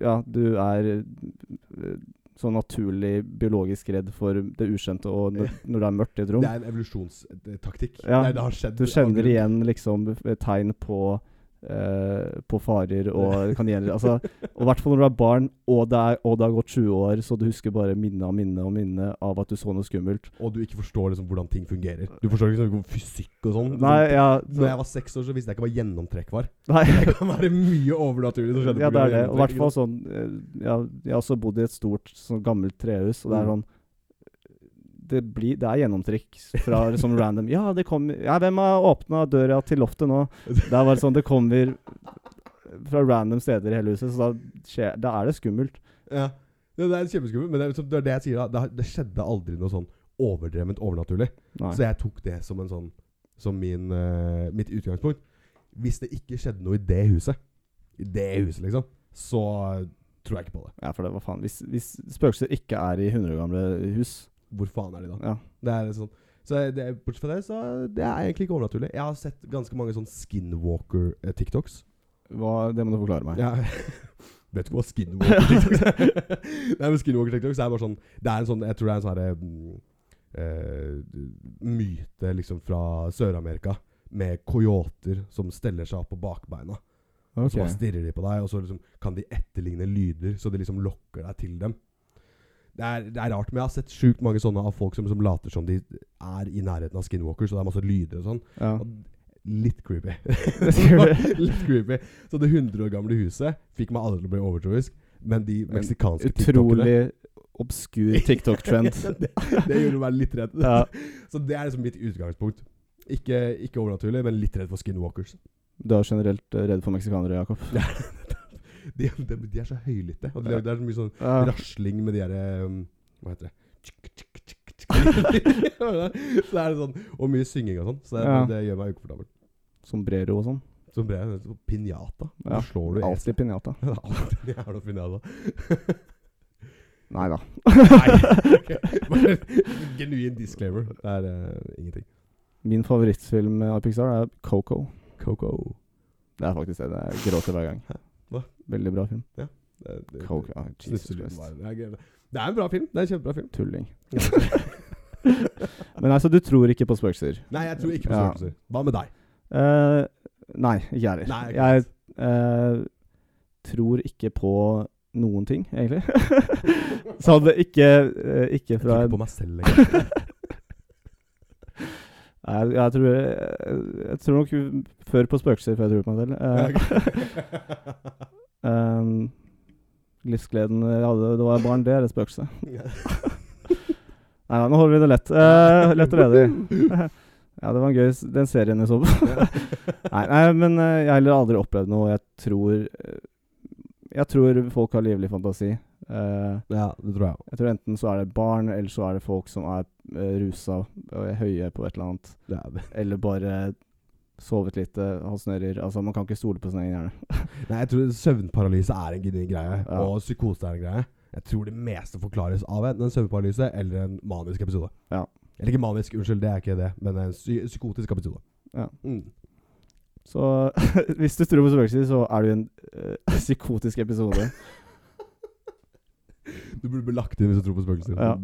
Ja, du er eh, sånn naturlig biologisk redd for det ukjente, og når, når det er mørkt i et rom Det er en evolusjonstaktikk. Ja. Det, er- det har skjedd. Du kjenner av grunn. igjen liksom tegn på eh, på farer og kaniner. Altså, og i hvert fall når du er barn, og det, er, og det har gått 20 år, så du husker bare minne og minne og minne av at du så noe skummelt. Og du ikke forstår liksom hvordan ting fungerer. Du forstår ikke sånn fysikk og sånn. Nei, ja, Når jeg var seks år, så visste jeg ikke hva gjennomtrekk var. nei. Det kan være mye overnaturlig som skjedde. Ja, på det grunn er det. Og i hvert av gjennomtrekk, fall sånn eh, ja, Jeg har også bodd i et stort, sånn gammelt trehus, og det er Mm. sånn det, blir, det er gjennomtrykk fra sånn random Ja, det kom Ja, hvem har åpna døra til loftet nå? Det er bare sånn Det kommer fra random steder i hele huset, så da, skjer, da er det skummelt. ikke sant? Ja. Det, det er kjempeskummelt, men det er, liksom- det er det jeg sier. da Det, har- det skjedde aldri noe sånn overdrevent overnaturlig. Nei. Så jeg tok det som en sånn Som min, eh, mitt utgangspunkt. Hvis det ikke skjedde noe i det huset, i det huset liksom, så tror jeg ikke på det. Ja, for det var faen Hvis, hvis spøkelser ikke er i 100 år gamle hus Hvor faen er de da? ja. Det er sånn så det, Bortsett fra det, så det er egentlig ikke overnaturlig. Jeg har sett ganske mange sånn eh, skinwalker-tiktoks. Hva, Det må du forklare meg. Ja. Vet ikke hva skinwalker-tiktoks er. Nei, men skinwalker-tiktoks er bare sånn Det er en sånn Jeg tror det er en sånn herre mm, eh, myte liksom fra Sør-Amerika med coyoter som steller seg opp på bakbeina. Og Så Ok. bare stirrer de på deg, og så liksom kan de etterligne lyder, så de liksom lokker deg til dem. Det er, det er rart, men jeg har sett sjukt mange sånne av folk som liksom later som de er i nærheten av skinwalker, så det er masse lyder og sånn. Ja. Litt creepy. creepy. Litt creepy. Så det 100 år gamle huset fikk meg aldri til å bli overtroisk, men de En meksikanske tiktokene Utrolig obskur TikTok-trend. det, det gjorde meg litt redd. Ja. Så det er liksom mitt utgangspunkt. Ikke, ikke overnaturlig, men litt redd for skinwalkers. Du er generelt eh, redd for meksikanere, Jakob. De, de, de er så høylytte. Og det, det er så mye sånn Ja. rasling med de derre um, Hva heter det? Tsk, tsk, tsk, tsk. så er det sånn Og mye synging og sånn. Så det, Ja. det gjør meg ukomfortabel. Sombrero og sånn. Så ble jeg sånn pinjata. Ja. Hvor slår du Alltid pinjata. Det er alltid en jævla pinjata. Nei da. Nei. ok. Bare en Genuin disclaimer. Det er eh, ingenting. Min favorittfilm eh, av Pixar er Coco. Coco. Det er faktisk det. det er- Jeg gråter hver gang. Hva? Veldig bra film. Det, det, Coco. Ah, Jesus Snufselyden Christ. var det. er gøy. Det er en bra film. Det er en Kjempebra film. Tulling. Men altså, du tror ikke på spøkelser? Nei, jeg tror ikke på Ja. spøkelser. Hva med deg? Eh, nei, ikke heller. Nei, ikke jeg eh, tror ikke på noen ting, egentlig. Så hadde ikke, eh, ikke Jeg fra tror ikke på meg selv lenger. Nei, jeg, jeg, tror, jeg, jeg tror nok før på spøkelser før jeg tror på meg selv. Eh, ehm, livsgleden eh, jeg hadde da jeg var barn, det er et spøkelse. Nei, nei, nå holder vi det lett. Eh, lett og ledig. ja, det var en gøy s- den serien jeg så på. nei, nei, men eh, jeg har heller aldri opplevd noe. Jeg tror eh, Jeg tror folk har livlig fantasi. Eh, ja, det tror jeg òg. jeg tror enten så er det barn, eller så er det folk som er eh, rusa og er høye på et eller annet. Det er Eller bare sovet lite, halsnører. Altså, man kan ikke stole på sin egen hjerne. Nei, jeg tror søvnparalyse er en genuin greie, Ja. og psykose er en greie. Jeg tror det meste forklares av enten en søvnparalyse eller en manisk episode. Ja. Eller ikke manisk, unnskyld, det er ikke det, men en psy psykotisk episode. Ja. Mm. Så hvis du tror på spøkelser, så er du i en eh, psykotisk episode. Du burde bli lagt inn hvis du tror på spøkelser. Ja.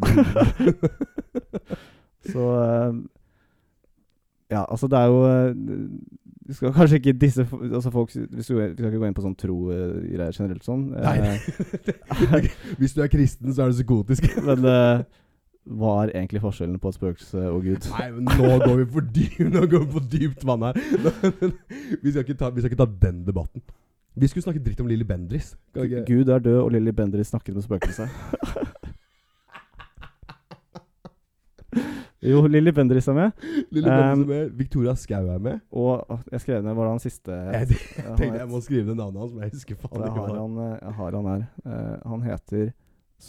Så eh, Ja, altså, det er jo eh, Du skal kanskje ikke disse fo- altså folk, vi skal, vi skal ikke gå inn på sånn tro-greier generelt sånn. Nei, Eh, Hvis du er kristen, så er du psykotisk. men eh, hva er egentlig forskjellen på et spøkelse og Gud? Nei, men nå går vi for dypt, nå går vi på dypt vann her. Vi skal, ikke ta, vi skal ikke ta den debatten. Vi skulle snakke dritt om Lilly Bendriss. Skal vi ikke- Gud er død, og Lilly Bendriss snakket med spøkelset. jo, Lilly Bendriss er med. Lilly Um, Bendriss er med. Victoria Skau er med. Og åh, jeg skrev ned Hva var det han siste Jeg han tenkte het? jeg må skrive ned navnet hans, men jeg husker faen Jeg ikke har hva det han, eh, jeg har han her. Eh, han heter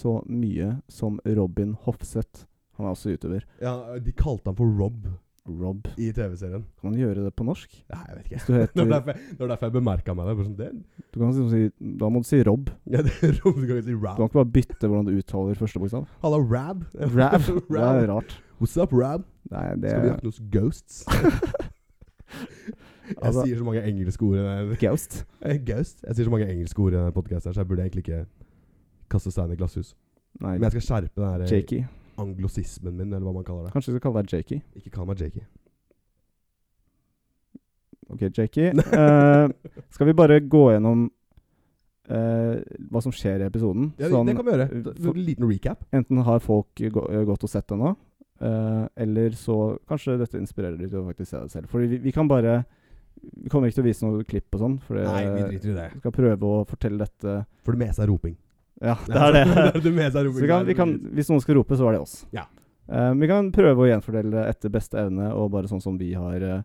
så mye som Robin Hofseth. Han er også YouTuber. ja, De kalte han for Rob Rob. i TV-serien. Kan man gjøre det på norsk? Nei, jeg vet ikke. Hvis du Det heter var derfor, det var derfor jeg bemerka meg det. Bare sånn, det du kan liksom si, Da må du si Rob. ja, det er Rob, du kan ikke Du si kan Rab. ikke bare bytte hvordan du uttaler første bokstav. Halla, Rab. Rab. Det er rart. What's up, Rab? Nei, Skal vi det jakte hos ghosts? Jeg Altså- sier så mange engelske ord i den Ghost. Eh, Gaust. Jeg sier så mange engelske ord i denne podcasten her, så jeg burde egentlig ikke kaste stein i glasshus. Nei, Men jeg skal skjerpe den her eh, Jakey. anglosismen min, eller hva man kaller det. Kanskje vi skal kalle deg Jakey. Ikke kall meg Eh, Jakey. Ok, Jakey. Eh, skal vi bare gå gjennom eh, hva som skjer i episoden? Ja, det, Sånn, det kan vi gjøre. Da- for- En liten recap. Enten har folk gå, gått og sett det nå, eh, eller så kanskje dette inspirerer dem til å faktisk se det selv. Fordi vi, vi kan bare Vi kommer ikke til å vise noe klipp og sånn, for det- driter i det. vi skal prøve å fortelle dette For det meste er roping. Ja, det er det. det meste er Så roping. vi kan, vi kan, hvis noen skal rope, så var det oss. Ja. Eh, vi kan prøve å gjenfordele etter beste evne, og bare sånn som vi har eh,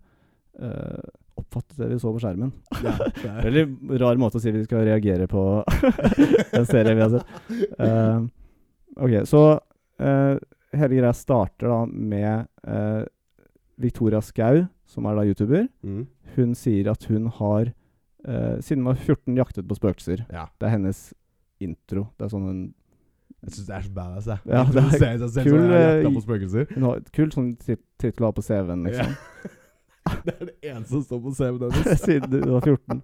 eh, oppfattet det vi så på skjermen. Ja, det er- Veldig rar måte å si vi skal reagere på en serie vi har sett. Eh, ok, så eh, hele greia starter da med eh, Victoria Skau, som er da YouTuber. Mm. Hun sier at hun har, eh, siden hun var 14, jaktet på spøkelser. Ja. Det er hennes intro. Det er sånn hun, Jeg syns det er så badass, jeg. Ja, det er Introdusere seg selv kul, som en jævla eh, på spøkelser. hun har et kult sånn tit- tittel å ha på CV-en, liksom. Ja. det er det eneste som står på CV-en siden hun var 14.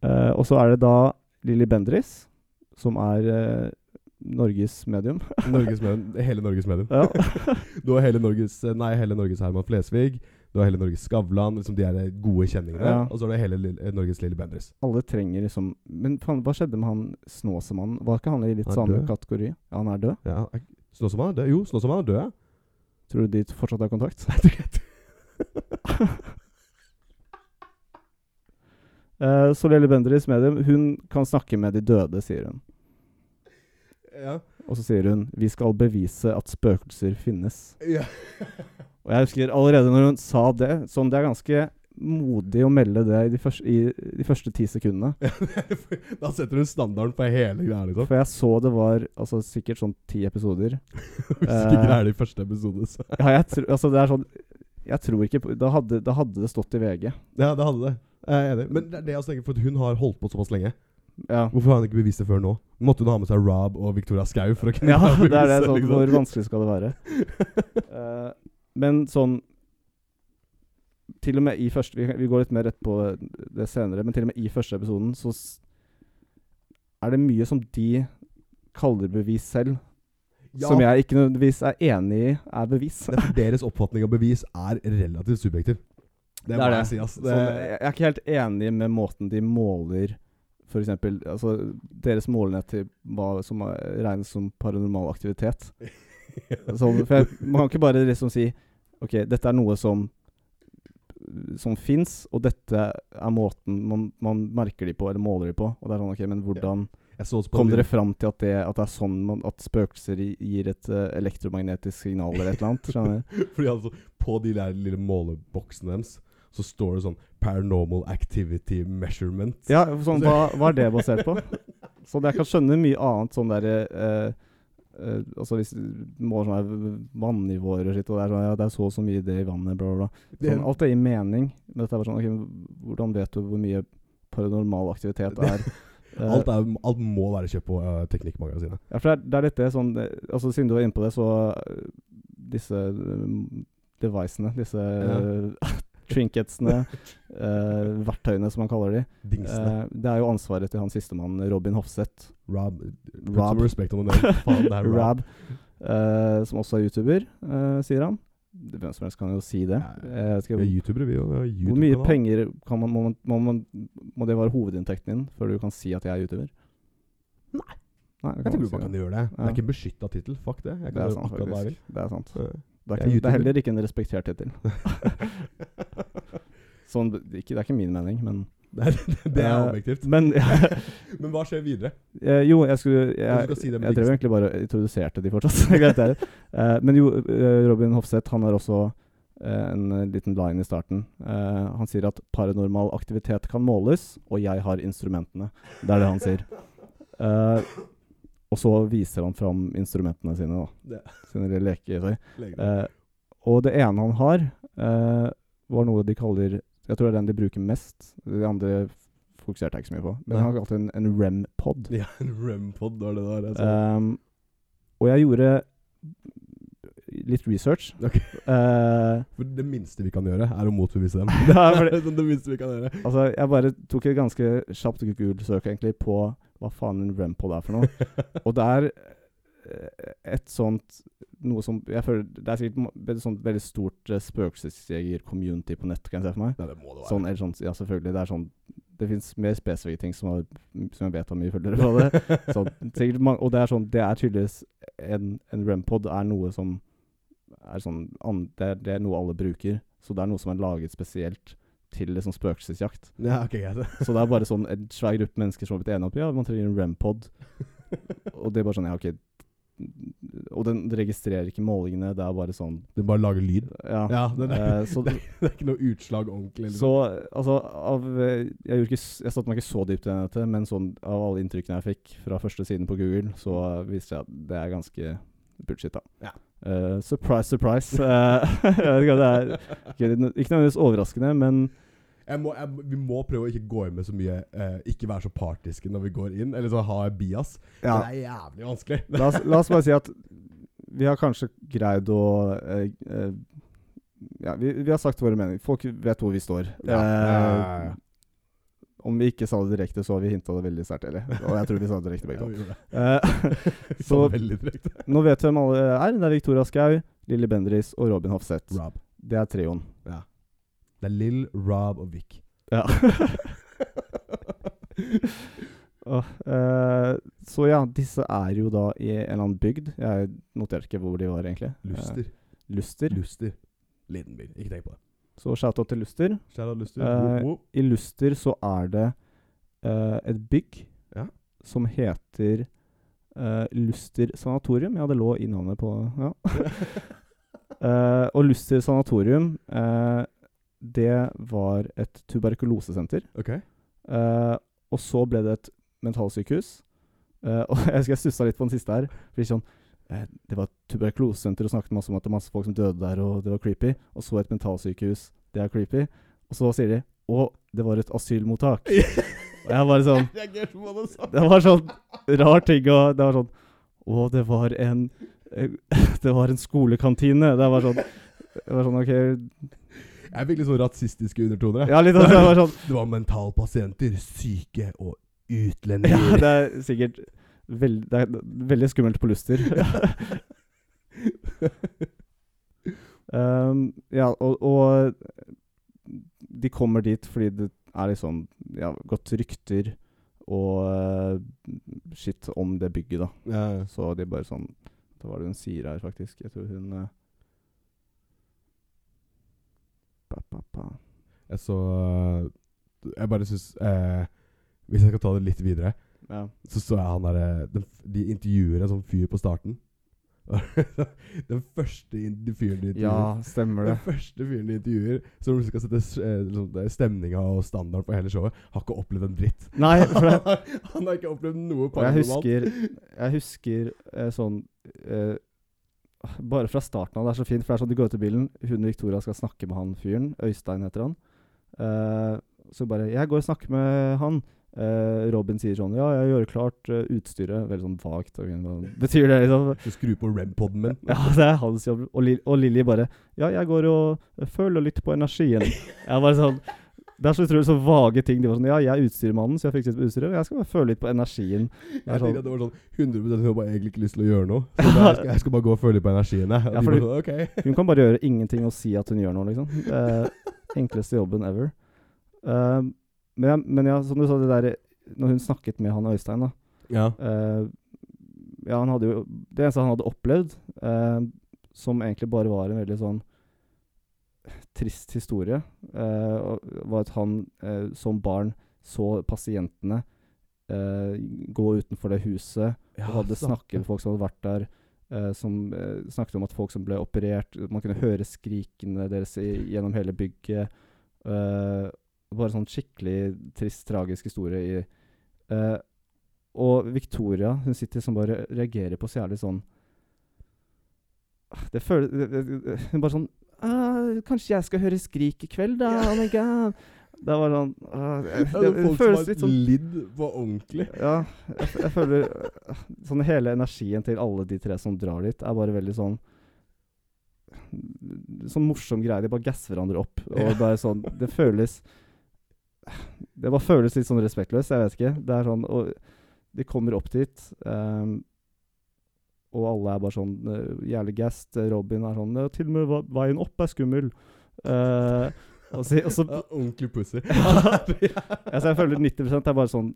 Eh, og så er det da Lilly Bendriss, som er eh, Norges medium. Norges medium. Hele Norges medium. Ja. Du har hele Norges eh, Nei, hele Norges Herman Flesvig. Du har hele Norges Skavlan, liksom de er gode kjenningene. Ja. Og så har du hele Lille, eh, Norges Lille Bendriss. Alle trenger liksom Men faen, hva skjedde med han Snåsamannen? Var ikke han i litt Han er samme død. kategori? Ja, han er død. Ja. Snåsamann er død. Jo, Snåsamann er død, ja. Tror du de fortsatt har kontakt? Eh, så Lilly Bendriss medium, hun kan snakke med de døde, sier hun. ja. Og så sier hun 'Vi skal bevise at spøkelser finnes'. ja. Og jeg husker allerede når hun sa det Sånn, det er ganske modig å melde det i de første, i de første ti sekundene. da setter hun standarden for hele greia, liksom. For jeg så det var altså, sikkert sånn ti episoder. Hvis ikke Eh. greier det i første episode, så Ja, jeg tr altså, det er sånn Jeg tror ikke på, da, hadde, da hadde det stått i VG. Ja, det hadde det. Jeg er enig. Men det er det jeg også tenker, for at hun har holdt på såpass lenge. Ja. Hvorfor har hun ikke bevist det før nå? Måtte hun ha med seg Rob og Victoria Skau for å kunne Ja, bevise det er det. Sånn, liksom? hvor vanskelig skal det være? Eh, men sånn Til og med i første vi, vi går litt mer rett på det senere, men til og med i første episoden så s er det mye som de kaller bevis selv, Ja, som jeg ikke nødvendigvis er enig i er bevis. det er for deres oppfatning av bevis er relativt subjektiv. Det Det, må er jeg det. si, altså. ass. Det, Sånn, jeg jeg er ikke helt enig med måten de måler for eksempel, altså deres målenhet til hva som er- regnes som paranormal aktivitet. Sånn, for jeg, man kan ikke bare liksom si OK, dette er noe som som fins, og dette er måten man, man merker de på, eller måler de på. Og det er sånn, ok, Men hvordan Jeg så også på kom en- dere fram til at det, at det er sånn man, at spøkelser i- gir et eh, elektromagnetisk signal eller et eller annet? Skjønner du? Fordi altså, på de der lille måleboksene deres, så står det sånn 'Paranormal Activity Measurement'. Ja, sånn, hva, hva er det basert på? Så jeg kan skjønne mye annet sånn der eh, eh, Altså hvis du måler sånn her vannivåer og shit, og det er sånn Ja, det er så og så mye det i vannet, bla, bla, bla. Det- Sånn, alt det gir mening, men dette er bare sånn OK, men hvordan vet du hvor mye paranormal aktivitet det er? Eh, alt, er, alt må være kjøpt på eh, Teknikkmagasinet. ja, for det er, det er dette sånn eh, Altså siden du var inne på det, så eh, Disse eh, devicene, disse eh, trinketsene, eh, verktøyene som man kaller de, Dingsene. eh, det er jo ansvaret til han sistemann, Robin Hofseth. Rob. Put Rob. some respect on the name. Faen, det er Rob. Rab, eh, som også er YouTuber, eh, sier han. det- Hvem som helst kan jo si det. Ja, ja. Eh, skal, Vi er youtubere, vi òg. hvor mye penger kan man, må, man, må, man, må det være hovedinntekten din før du kan si at jeg er YouTuber? Nei. Nei det Jeg kan tror man ikke du bare si. kan gjøre det. Det Ja. er ikke en beskytta tittel. Fuck det. Det Jeg kan er gjøre sant, akkurat hva jeg vil. faktisk. Det er sant. Ja. Det er, Jeg ikke, er det YouTuber. er heller ikke en respektert tittel. Sånn, det, ikke, det er ikke min mening, men Nei, det- det er Eh, objektivt. Men Men hva skjer videre? Eh, jo, jeg skulle Jeg, Du skal si det jeg med drev Dixon. egentlig bare og introduserte de fortsatt. Greit, det er det. Eh, men jo, eh, Robin Hofseth han har også eh, en eh, liten line i starten. Eh, han sier at 'paranormal aktivitet kan måles, og jeg har instrumentene'. Det er det han sier. Eh, og så viser han fram instrumentene sine, da. Det- Sine lille leketøy. Legg det. Eh, og det ene han har, eh, var noe de kaller Jeg tror det er den de bruker mest. De andre fokuserte jeg ikke så mye på. Men Nei. han kalte det en, en rem-pod. Ja, en rempod var det der. Altså. Um, og jeg gjorde litt research. Ok. Eh, For det minste vi kan gjøre, er å motbevise dem. det er fordi, Sånn, det minste vi kan gjøre. altså, jeg bare tok et ganske kjapt Google-søk egentlig på hva faen en rempod er for noe. Og det er eh, et sånt noe som jeg føler, Det er sikkert ma- et sånt veldig stort eh, spøkelsesjeger-community på nett, kan jeg se for meg. Nei, det må det være. Sånn, eller sånn, ja, selvfølgelig. Det er sånn Det fins mer spesifikke ting som, har, som jeg vet har mye følgere på det. Så, Sånn, sikkert mange, og det er sånn Det er tydeligvis En, en rempod er noe som er sånn an, det, er, det er noe alle bruker. Så det er noe som er laget spesielt til liksom spøkelsesjakt. Ja, ok, greit. Så det er bare sånn en svær gruppe mennesker som har blitt enige om at ja, man trenger en rempod. Og det er bare sånn Ja, ok. Og den registrerer ikke målingene. Det er bare sånn Den bare lager lyd. Ja. Ja, den er, Eh, så, det er ikke noe utslag ordentlig. Liksom. så altså av, eh, Jeg, gjorde ikke, s- jeg satte meg ikke så dypt i dette, men sånn, av alle inntrykkene jeg fikk fra første siden på Google, så eh, viste jeg at det er ganske bullshit, da. Ja. Eh, surprise, surprise. Eh, jeg vet ikke, om det er ikke, ikke nødvendigvis overraskende, men Jeg må, jeg, vi må prøve å ikke gå inn med så mye eh, Ikke være så partiske når vi går inn, eller så ha bias. Men Det er jævlig vanskelig. La oss, la oss bare si at vi har kanskje greid å eh, eh, Ja, vi, vi har sagt våre meninger. Folk vet hvor vi står. Eh, Ja. Om vi ikke sa det direkte, så har vi hinta det veldig sterkt. Eller? Og jeg tror vi sa det direkte, begge Ja, to. vi gjorde det. Eh, Vi Så- sa det veldig direkte. nå vet vi hvem alle er. Det er Victoria Skau, Lille Bendriss og Robin Hofseth. Rob. Det er trioen. Det er Lill, Rob og Vic. Ja. Åh, eh, så ja, disse er jo da i en eller annen bygd. Jeg noterte ikke hvor de var, egentlig. Eh, Luster. Luster. Luster. Liten by. Ikke tenk på det. Så shout-out til Luster. Shout out Luster. Eh, Wop, wop. I Luster så er det eh, et bygg Ja. som heter eh, Luster sanatorium. Ja, det lå i navnet på Ja. Eh, og Luster sanatorium, eh, det var et tuberkulosesenter. Ok. Eh, og så ble det et mentalsykehus. Eh, og jeg husker jeg stussa litt på den siste her. Fordi sånn, eh, det var et tuberkulosesenter og snakket masse om at det var masse folk som døde der, og det var creepy. Og så et mentalsykehus. Det er creepy. Og så sier de å, det var et asylmottak. Og jeg bare sånn Jeg reagerte på det sånn. Det var sånn rar ting å Det var sånn Å, det var en eh, Det var en skolekantine. Det var sånn det var sånn, ok Jeg fikk litt sånn rasistiske undertoner. jeg. Ja, litt sånn. Det var sånn Det var mentalpasienter, syke og Ja, utlendinger. det er sikkert veld, det er veldig skummelt på Luster. um, ja, og, og de kommer dit fordi det er liksom ja, gått rykter og eh, shit om det bygget, da. Ja, ja. Så de bare sånn Da var det hun sier her, faktisk. Jeg tror hun eh, pa, pa, pa. Jeg så øh, Jeg bare syns eh, Hvis jeg skal ta det litt videre, Ja. så så jeg han derre De, de intervjuer en sånn fyr på starten. den første in de fyren de intervjuer. ja, stemmer det. Den første fyren de intervjuer som liksom skal sette s- eh, liksom, det er stemninga og standarden for hele showet, har ikke opplevd en dritt. Nei, for det, han, har, han har ikke opplevd Og noe jeg paranormalt. husker, jeg husker eh, sånn eh, Bare fra starten av, det er så fint. For det er sånn de går ut i bilen, hun Victoria skal snakke med han fyren. Øystein heter han. Eh, så bare 'Jeg går og snakker med han'. Eh, Robin sier sånn 'Ja, jeg gjør klart eh, utstyret'. Veldig sånn vagt. ok, Hva betyr det, liksom? Så skru på rem-poden min. Ja, det er hans jobb. eh, Og, Lil og Lilly bare 'Ja, jeg går og føler litt på energien'. Jeg bare sånn Det er så utrolig så vage ting. De var sånn Ja, jeg er utstyrmannen, så jeg fikk sitt på utstyret. og Jeg skal bare føle litt på energien. Det Jeg er tenkte sånn, at det var sånn 100 hun har bare egentlig ikke lyst til å gjøre noe. Så da, jeg, skal, jeg skal bare gå og føle på energien, jeg. Og Ja, de fordi- bare sånn, ok. hun kan bare gjøre ingenting og si at hun gjør noe, liksom. Eh, enkleste jobben ever. Eh, men jeg, men jeg, som du sa, det der Når hun snakket med han Øystein, da Ja. Eh, ja, han hadde jo Det eneste han hadde opplevd, eh, som egentlig bare var en veldig sånn trist historie, eh, og- var at han eh, som barn så pasientene eh, gå utenfor det huset og hadde snakket med folk som hadde vært der. eh, som eh, snakket om at folk som ble operert Man kunne høre skrikene deres i, gjennom hele bygget. eh, bare sånn skikkelig trist, tragisk historie i eh, og Victoria, hun sitter som bare reagerer på så jævlig sånn Det føles det- det- det- Hun bare sånn «Ah, Kanskje jeg skal høre skrik i kveld, da? Oh my god. Det var sånn ah, det, Det er det folk som føles har litt sånn lidd på ordentlig. ja, jeg, f- jeg føler øh, Sånn hele energien til alle de tre som drar dit, er bare veldig sånn Sånn morsom greie. De bare gasser hverandre opp. Ja. Og bare sånn Det føles Det bare føles litt sånn respektløst, jeg vet ikke. Det er sånn Og de kommer opp dit, ehm, og alle er bare sånn øh, jævlig gassed. Robin er sånn «Ja, Til og med va- veien opp er skummel. Eh, og, så, og så Ja, ordentlig pussy. Altså, jeg føler 90 er bare sånn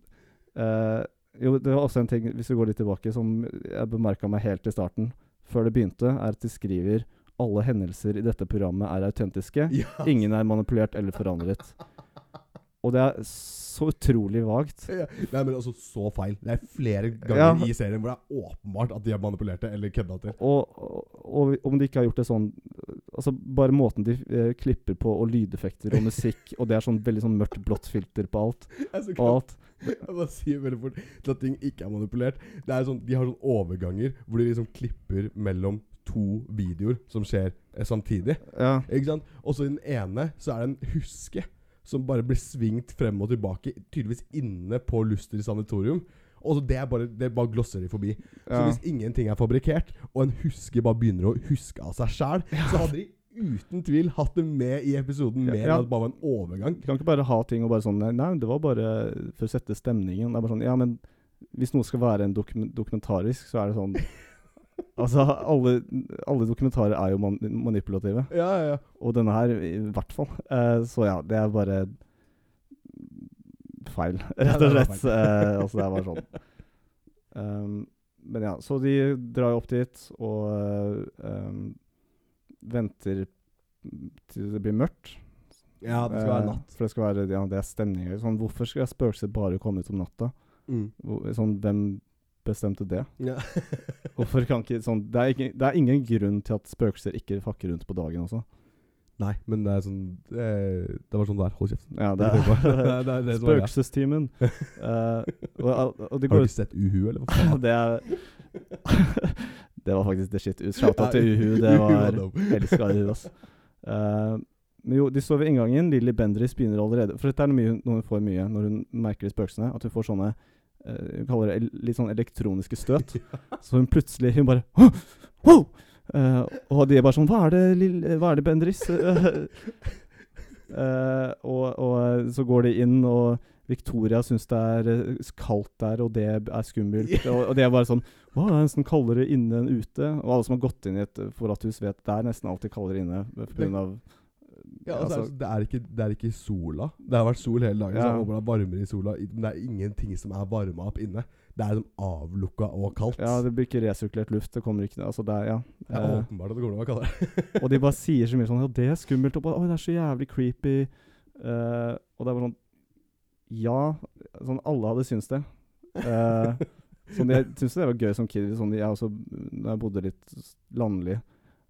eh, Jo, det var også en ting, hvis vi går litt tilbake, som jeg bemerka meg helt i starten, før det begynte, er at de skriver alle hendelser i dette programmet er autentiske. Ja. Ingen er manipulert eller forandret. Og det er så utrolig vagt. Ja. Nei, men altså, så feil. Det er flere Ja. ganger i serien hvor det er åpenbart at de har manipulert det eller kødda til. Og, og, og om de ikke har gjort det sånn Altså Bare måten de eh, klipper på, og lydeffekter og musikk, og det er sånn veldig sånn mørkt blått filter på alt. Jeg, så Og glad- alt jeg bare sier veldig fort til at ting ikke er manipulert. Det er sånn, De har sånn overganger hvor de liksom klipper mellom to videoer som skjer eh, samtidig. Ja. Ikke sant? Og så i den ene så er det en huske som bare blir svingt frem og tilbake, tydeligvis inne på Luster sanatorium. Og så det, er bare, det bare glosser de forbi. Så Ja. hvis ingenting er fabrikkert, og en huske bare begynner å huske av seg sjæl, så hadde de uten tvil hatt det med i episoden Ja, mer ja. enn at det bare var en overgang. Du kan ikke bare ha ting og bare sånn Nei, nei, det var bare for å sette stemningen. Det er bare sånn Ja, men hvis noe skal være en dokumen- dokumentarisk, så er det sånn Altså, alle, alle dokumentarer er jo man manipulative. Ja, ja, ja. Og denne her, i hvert fall. Eh, så ja, det er bare feil, Ja, rett og det er slett. Eh, altså, det er bare sånn. Um, men ja, så de drar jo opp dit og eh, um, venter til det blir mørkt. Ja, det skal være Eh, natt. For det skal være, ja, det er stemning. Sånn, hvorfor skal spøkelser bare komme ut om natta? Mm. Hvor- Sånn, hvem bestemte det? Ja. Hvorfor kan ikke, sånn, det, er ikke, det er ingen grunn til at spøkelser ikke fakker rundt på dagen også. Nei, men det er sånn Det, det var sånn det er. Hold kjeft. Ja, det Det er, det er, er det er, det som er greia. Spøkelsestimen. Eh, og, og det Har du går ikke sett Uhu, eller hva? Det er Det var faktisk the shit. Shout-out til Ja, Uhu. Det Uhu var dope. Elska det, ass. Eh, men jo, de står ved inngangen. Lilly Bendriss begynner allerede For dette er noe, mye, noe hun får mye når hun merker de spøkelsene. At hun får sånne eh, Hun kaller det el litt sånn elektroniske støt. Så hun plutselig Hun bare «Hå! Hå!» Eh, Og de er bare sånn Hva er det, Lill hva er det Bendriss? Eh, eh, og, og så går de inn, og Victoria syns det er eh, kaldt der, og det er skummelt. Og, og det er bare sånn Wow, det er nesten kaldere inne enn ute. Og alle som har gått inn i et forlatthus, vet det er nesten alltid kaldere inne pga. Ja, altså, altså- det, er ikke, det er ikke sola. Det har vært sol hele dagen, Ja. så jeg håper det er varmere i sola. i- Men det er ingenting som er varma opp inne. Det er som avlukka og kaldt. Ja, det blir ikke resirkulert luft. Det kommer ikke Altså, det er Ja. det er Eh, åpenbart at det kommer til å være kaldere. og de bare sier så mye sånn Ja, det er skummelt. Og bare Oi, det er så jævlig creepy. Eh, og det er bare sånn Ja, sånn alle hadde syntes det. Eh, sånn, jeg syntes det var gøy som kid. Sånn, jeg også, når jeg bodde litt s- landlig,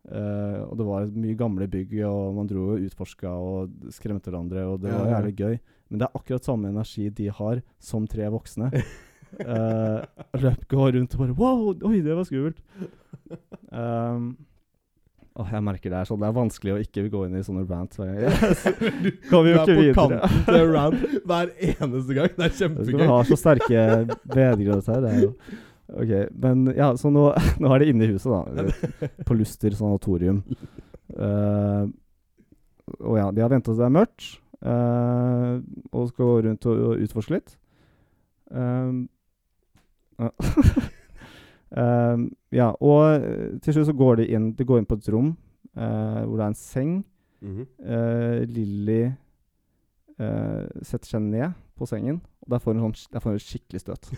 eh, og det var mye gamle bygg, og man dro og utforska og skremte hverandre, og det Ja, var ja, ja. jævlig gøy. Men det er akkurat samme energi de har, som tre voksne. Eh, løp går rundt og bare Wow, oi, det var skummelt. Um, Åh, jeg merker det er sånn Det er vanskelig å ikke gå inn i sånne rants hver gang. du, eh, Kan vi jo ikke Du er på videre. kanten til rant hver eneste gang. Det er Jeg skal vi kjempegøy. ha så sterke vedgrøt her. Det er jo Ok, men ja, så nå, nå er det inne i huset, da. På Ehm, Luster sanatorium. Eh, og ja, de har venta til det er mørkt. eh, og skal gå rundt og, og utforske litt. Ehm, ja. Ehm, ja, og eh, til slutt så går de inn, de går inn på et rom eh, hvor det er en seng. Mhm. Eh, Lilly eh, setter seg ned på sengen, og der får hun, sånn, der får hun et skikkelig støt.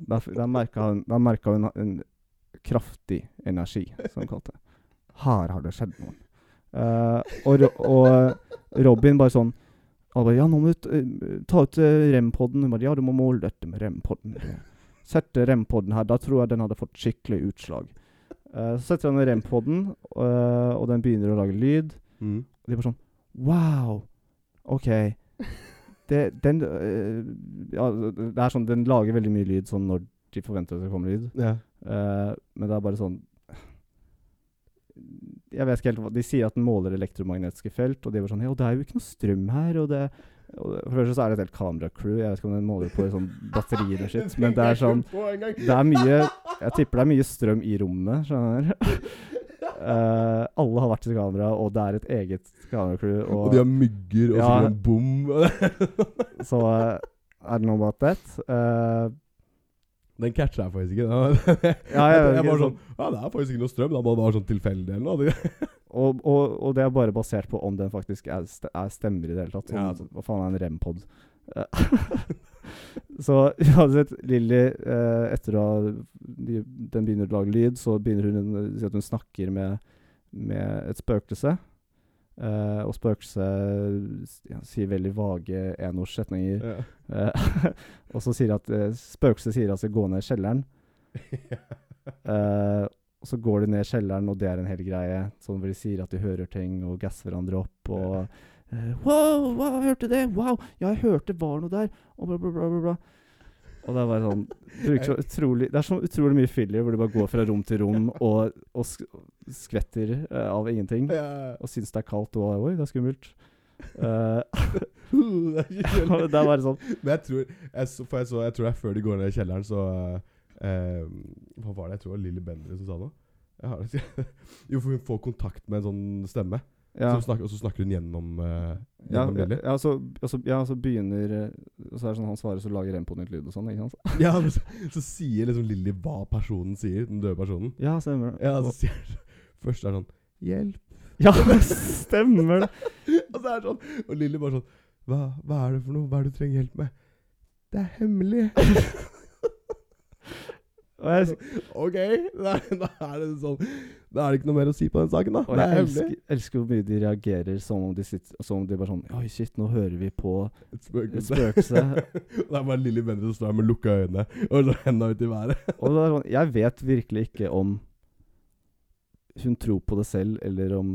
Der, f- der merka hun, der merka hun en kraftig energi, som hun kalte det. Her har det skjedd noe. Eh, og, Ro- og Robin bare sånn han bare, Ja, nå må du t- eh, ta ut eh, rempodden. Hun bare Ja, du må måle dette med rempodden. Sette rempodden her. Da tror jeg den hadde fått skikkelig utslag. Eh, så setter han rempodden, uh, og den begynner å lage lyd. Mhm. Og de bare sånn Wow! OK. Det, den øh, ja, det er sånn, Den lager veldig mye lyd sånn når de forventer at det kommer lyd. Ja. Eh, men det er bare sånn Jeg vet ikke helt hva De sier at den måler elektromagnetiske felt, og de var sånn Ja, det er jo ikke noe strøm her, og det og det- For det første så er det et helt kameracrew. Jeg vet ikke om den måler på sånn batterier og shit, men det er sånn det er mye Jeg tipper det er mye strøm i rommet, skjønner du. Eh, alle har vært sitt kamera, og det er et eget kameracrew. Og, Og, de har mygger og så Ja. blir det en bom. så eh, er det noe about that. Eh, Den catcha jeg faktisk ikke. Jeg, Ja, jeg vet jeg ikke, var sånn Ja, det er faktisk ikke noe strøm. Da må det være sånn tilfeldig eller noe. og, og, og det er bare basert på om den faktisk er, st er stemmer i det hele tatt. Om, Ja, altså. Hva faen er en rempod? Eh, så uansett, Lilly, eh, etter å ha de, Den begynner å lage lyd, så begynner hun å si at hun snakker med, med et spøkelse. Eh, og spøkelset s- ja, sier veldig vage enordssetninger. Ja. Eh, og så sier de at eh, spøkelset sier at de skal gå ned i kjelleren. Eh, og så går de ned i kjelleren, og det er en hel greie. Sånn hvor de sier at de hører ting og gasser hverandre opp og eh, Wow, wow, jeg hørte det! Wow! Ja, jeg hørte det var noe der! Og bla, bla, bla, bla, bla. Og det er bare sånn bruker så utrolig, Det er så utrolig mye filler hvor de bare går fra rom til rom og, og sk skvetter eh, av ingenting. Ja. Og syns det er kaldt og oi, det er skummelt. Eh, Det er ikke og det er bare sånn Men jeg tror jeg, så, for jeg, så, jeg tror det er før de går ned i kjelleren, så eh, Hva var det jeg tror det var Lilly Bendriss som sa noe? Jeg har det ikke. Jo, for hun får kontakt med en sånn stemme, ja. som snakker, og så snakker hun gjennom, eh, Ja, gjennom Lilly. ja, så, og så, ja, så begynner eh, Og så er det sånn han svarer, så lager en på nytt lyd og sånn. ikke sant? Ja, men så, så sier liksom Lilly hva personen sier, den døde personen. Ja, stemmer det. Ja, altså. så sier Først er det sånn 'Hjelp'. Ja, stemmer det! Og så er det sånn Og Lilly bare sånn hva, 'Hva er det for noe? Hva er det du trenger hjelp med?' 'Det er hemmelig'. Og jeg, OK, da, da er det sånn Da er det ikke noe mer å si på den saken, da. og det er jeg hemmelig. elsker, elsker hvor mye de reagerer som om de, sitter, som om de bare sånn Oi, shit, nå hører vi på Et et spøkelse. spøkelse. det er bare Lilly Bendriss som står her med lukka øyne og så henda ut i været. Og det er sånn, jeg vet virkelig ikke om hun tror på det selv, eller om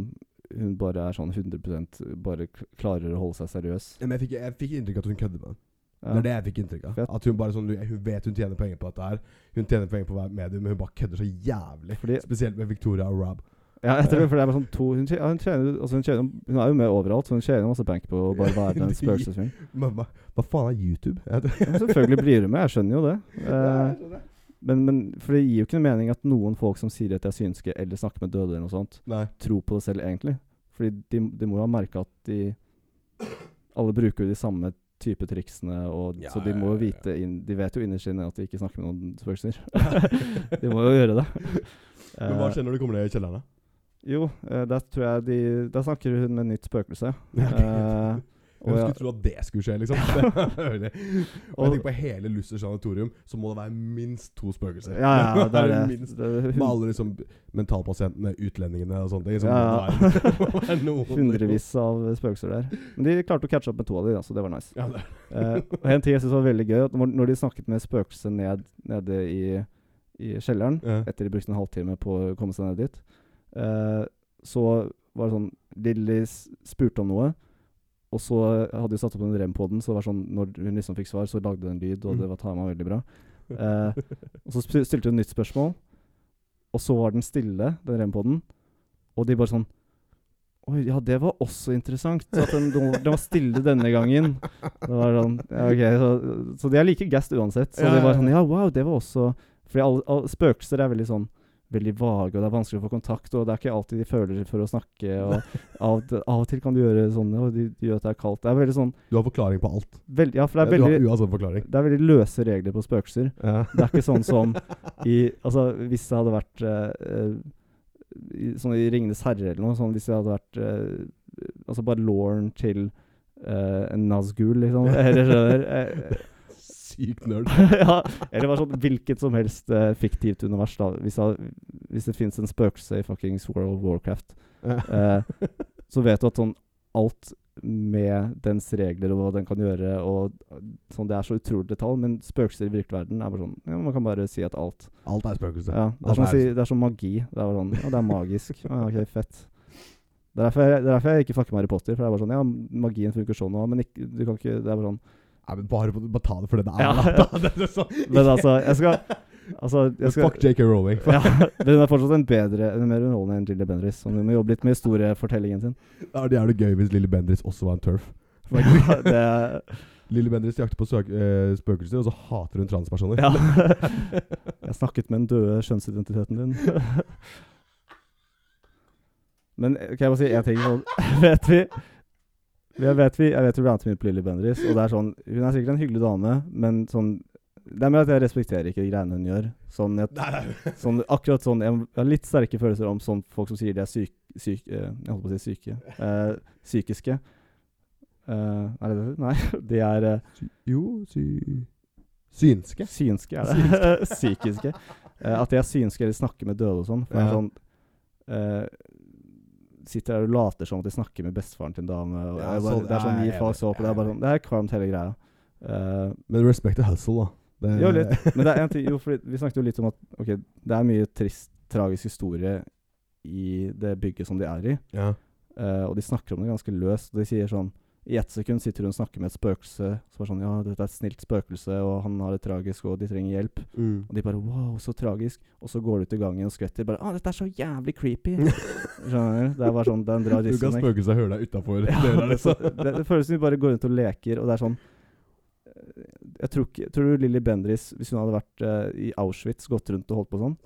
hun bare er sånn 100 bare k- klarer å holde seg seriøs. Men jeg fikk, jeg fikk inntrykk av at hun kødder med det. Det Ja. er det jeg fikk inntrykk av. Fett. At Hun bare sånn, hun vet hun tjener penger på dette her. Hun tjener penger på hver medium, men hun bare kødder så jævlig. Fordi Spesielt med Victoria og Rob. Ja, jeg tror det, for det er bare sånn to Hun, tjener, ja, hun, tjener, altså hun, tjener, hun er jo med overalt, så hun tjener masse penger på å bare være den spøkelsesfyren. Mamma, hva faen er YouTube? Jeg vet- Men Selvfølgelig blir hun med, jeg skjønner jo det. Eh, Jeg skjønner. men, men For det gir jo ikke noe mening at noen folk som sier at de er synske eller snakker med døde, eller noe sånt, Nei. tror på det selv, egentlig. Fordi de, de må jo ha merka at de Alle bruker jo de samme type triksene, og, Ja, så de må jo ja, ja, ja. vite inn, De vet jo innerst inne at de ikke snakker med noen spøkelser. de må jo gjøre det. Men hva Eh, skjer når du kommer ned i kjelleren? da? jo, eh, der tror jeg de Der snakker hun med nytt spøkelse. Eh, Hvem og ja, skulle tro at det skulle skje, liksom? Det er veldig- og jeg Og- tenker på hele Lussers sanatorium, så må det være minst to spøkelser. ja, ja, det er det. minst det Med alle liksom mentalpasientene, utlendingene og sånne ting. Som Ja, ja. det er- det er noen- Hundrevis av spøkelser der. Men de klarte å catche opp med to av de, da, så det var nice. Ja, det er- Eh, og en ting jeg syntes var veldig gøy, at når- når de snakket med spøkelset ned, nede i, i kjelleren, ja. etter de brukte en halvtime på å komme seg ned dit, eh, så var det sånn Lilly s- spurte om noe, og så hadde de satt opp en rem på den, så det var sånn, når hun liksom fikk svar, så lagde den lyd, og det var tama veldig bra. Eh, og så sp- stilte hun nytt spørsmål, og så var den stille, den rem-poden, og de bare sånn Oi, ja, det var også interessant. At den, den var- den var stille denne gangen. Det var sånn, ja, ok, så, så de er like gassed uansett. Så Ja, det var ja, ja. sånn Ja, wow, det var også Fordi alle, alle spøkelser er veldig sånn veldig vage, og det er vanskelig å få kontakt, og det er ikke alltid de føler for å snakke. og Av, og til- av og til kan du gjøre sånne, og de, de gjør at det er kaldt. Det er veldig sånn Du har forklaring på alt. veld, Ja, for det er du har veldig, uansett forklaring. det er veldig løse regler på spøkelser. Ja. Det er ikke sånn som i Altså, hvis det hadde vært eh, eh, i, Sånn i 'Ringenes herre' eller noe sånn, hvis det hadde vært eh, Altså bare lauren til eh, en Nazgul, liksom. Eller skjønner eh, Sykt nerd. ja, eller bare sånn hvilket som helst eh, fiktivt univers, da. Hvis det, hvis det fins en spøkelse i fuckings World of Warcraft, eh, så vet du at sånn alt med dens regler og hva den kan gjøre, og sånn, det er så utrolig detalj, men spøkelser i virkelig verden er bare sånn ja, Man kan bare si at alt Alt er spøkelse. ja, det, er som å si, det er som magi. Det er bare sånn Ja, det er magisk. Ja, ok, fett. Det er, derfor jeg, det er derfor jeg ikke fucker med Harry Potter. For det er bare sånn Ja, magien funker sånn òg, men ikke, du kan ikke Det er bare sånn Nei, men bare, bare ta det for det det er. Ja. da. Det er så- Men altså, jeg skal Altså, jeg skal Fuck JK Rowling. ja, men hun er fortsatt en bedre en mer underholdende enn Gilly Bendriss. Så hun må jobbe litt med historiefortellingen sin. Da er det jævlig gøy hvis Lille Bendriss også var en turf. Ja, det, er- Lille Bendriss jakter på søk, eh, spøkelser, og så hater hun transpersoner. ja. Jeg snakket med den døde kjønnsidentiteten din. Men eh, kan jeg bare si én ting? Sånn, vet vi jeg vet, vi, jeg vet vi ranter mye på Lilly Bendriss, og det er sånn Hun er sikkert en hyggelig dame, men sånn Det er mer at jeg respekterer ikke de greiene hun gjør. Sånn, jeg, Nei, nei. sånn akkurat sånn Jeg jeg har litt sterke følelser om sånn folk som sier de er syk, syk, eh, Jeg holdt på å si syke. eh, psykiske. Eh, er det det? Nei. De er eh, Sy jo, sy... Synske? synske, er det? Psykiske. Eh, at de er synske eller snakker med døde og sånn. For det er Ja. sånn eh, Sitter der og later som at de snakker med bestefaren til en dame. Og Ja, jeg bare, sånn- det er sånn ja, Gi jeg faen vet, så opp. Det er bare sånn Det er kvalmt, hele greia. Eh, Men respect the hustle, da. Det- jo, litt. Men det er en ting Jo, fordi vi snakket jo litt om at Ok, det er mye trist, tragisk historie i det bygget som de er i. Ja. Eh, og de snakker om det ganske løst. Og de sier sånn I ett sekund sitter hun og snakker med et spøkelse. Så bare sånn Ja, dette er et snilt spøkelse, og han har det tragisk, og de trenger hjelp. Mm. Og de bare Wow, så tragisk. Og så går de ut i gangen og skvetter. Bare Å, dette er så jævlig creepy. Skjønner du? Det er bare sånn Det er en bra Du kan disconnect. spøkelse og høre deg utafor Ja, døra, det, liksom. det, det føles som vi bare går rundt og leker, og det er sånn eh, jeg tror, ikke, tror du Lilly Bendriss, hvis hun hadde vært eh, i Auschwitz, gått rundt og holdt på sånn?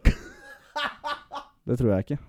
Det tror jeg ikke.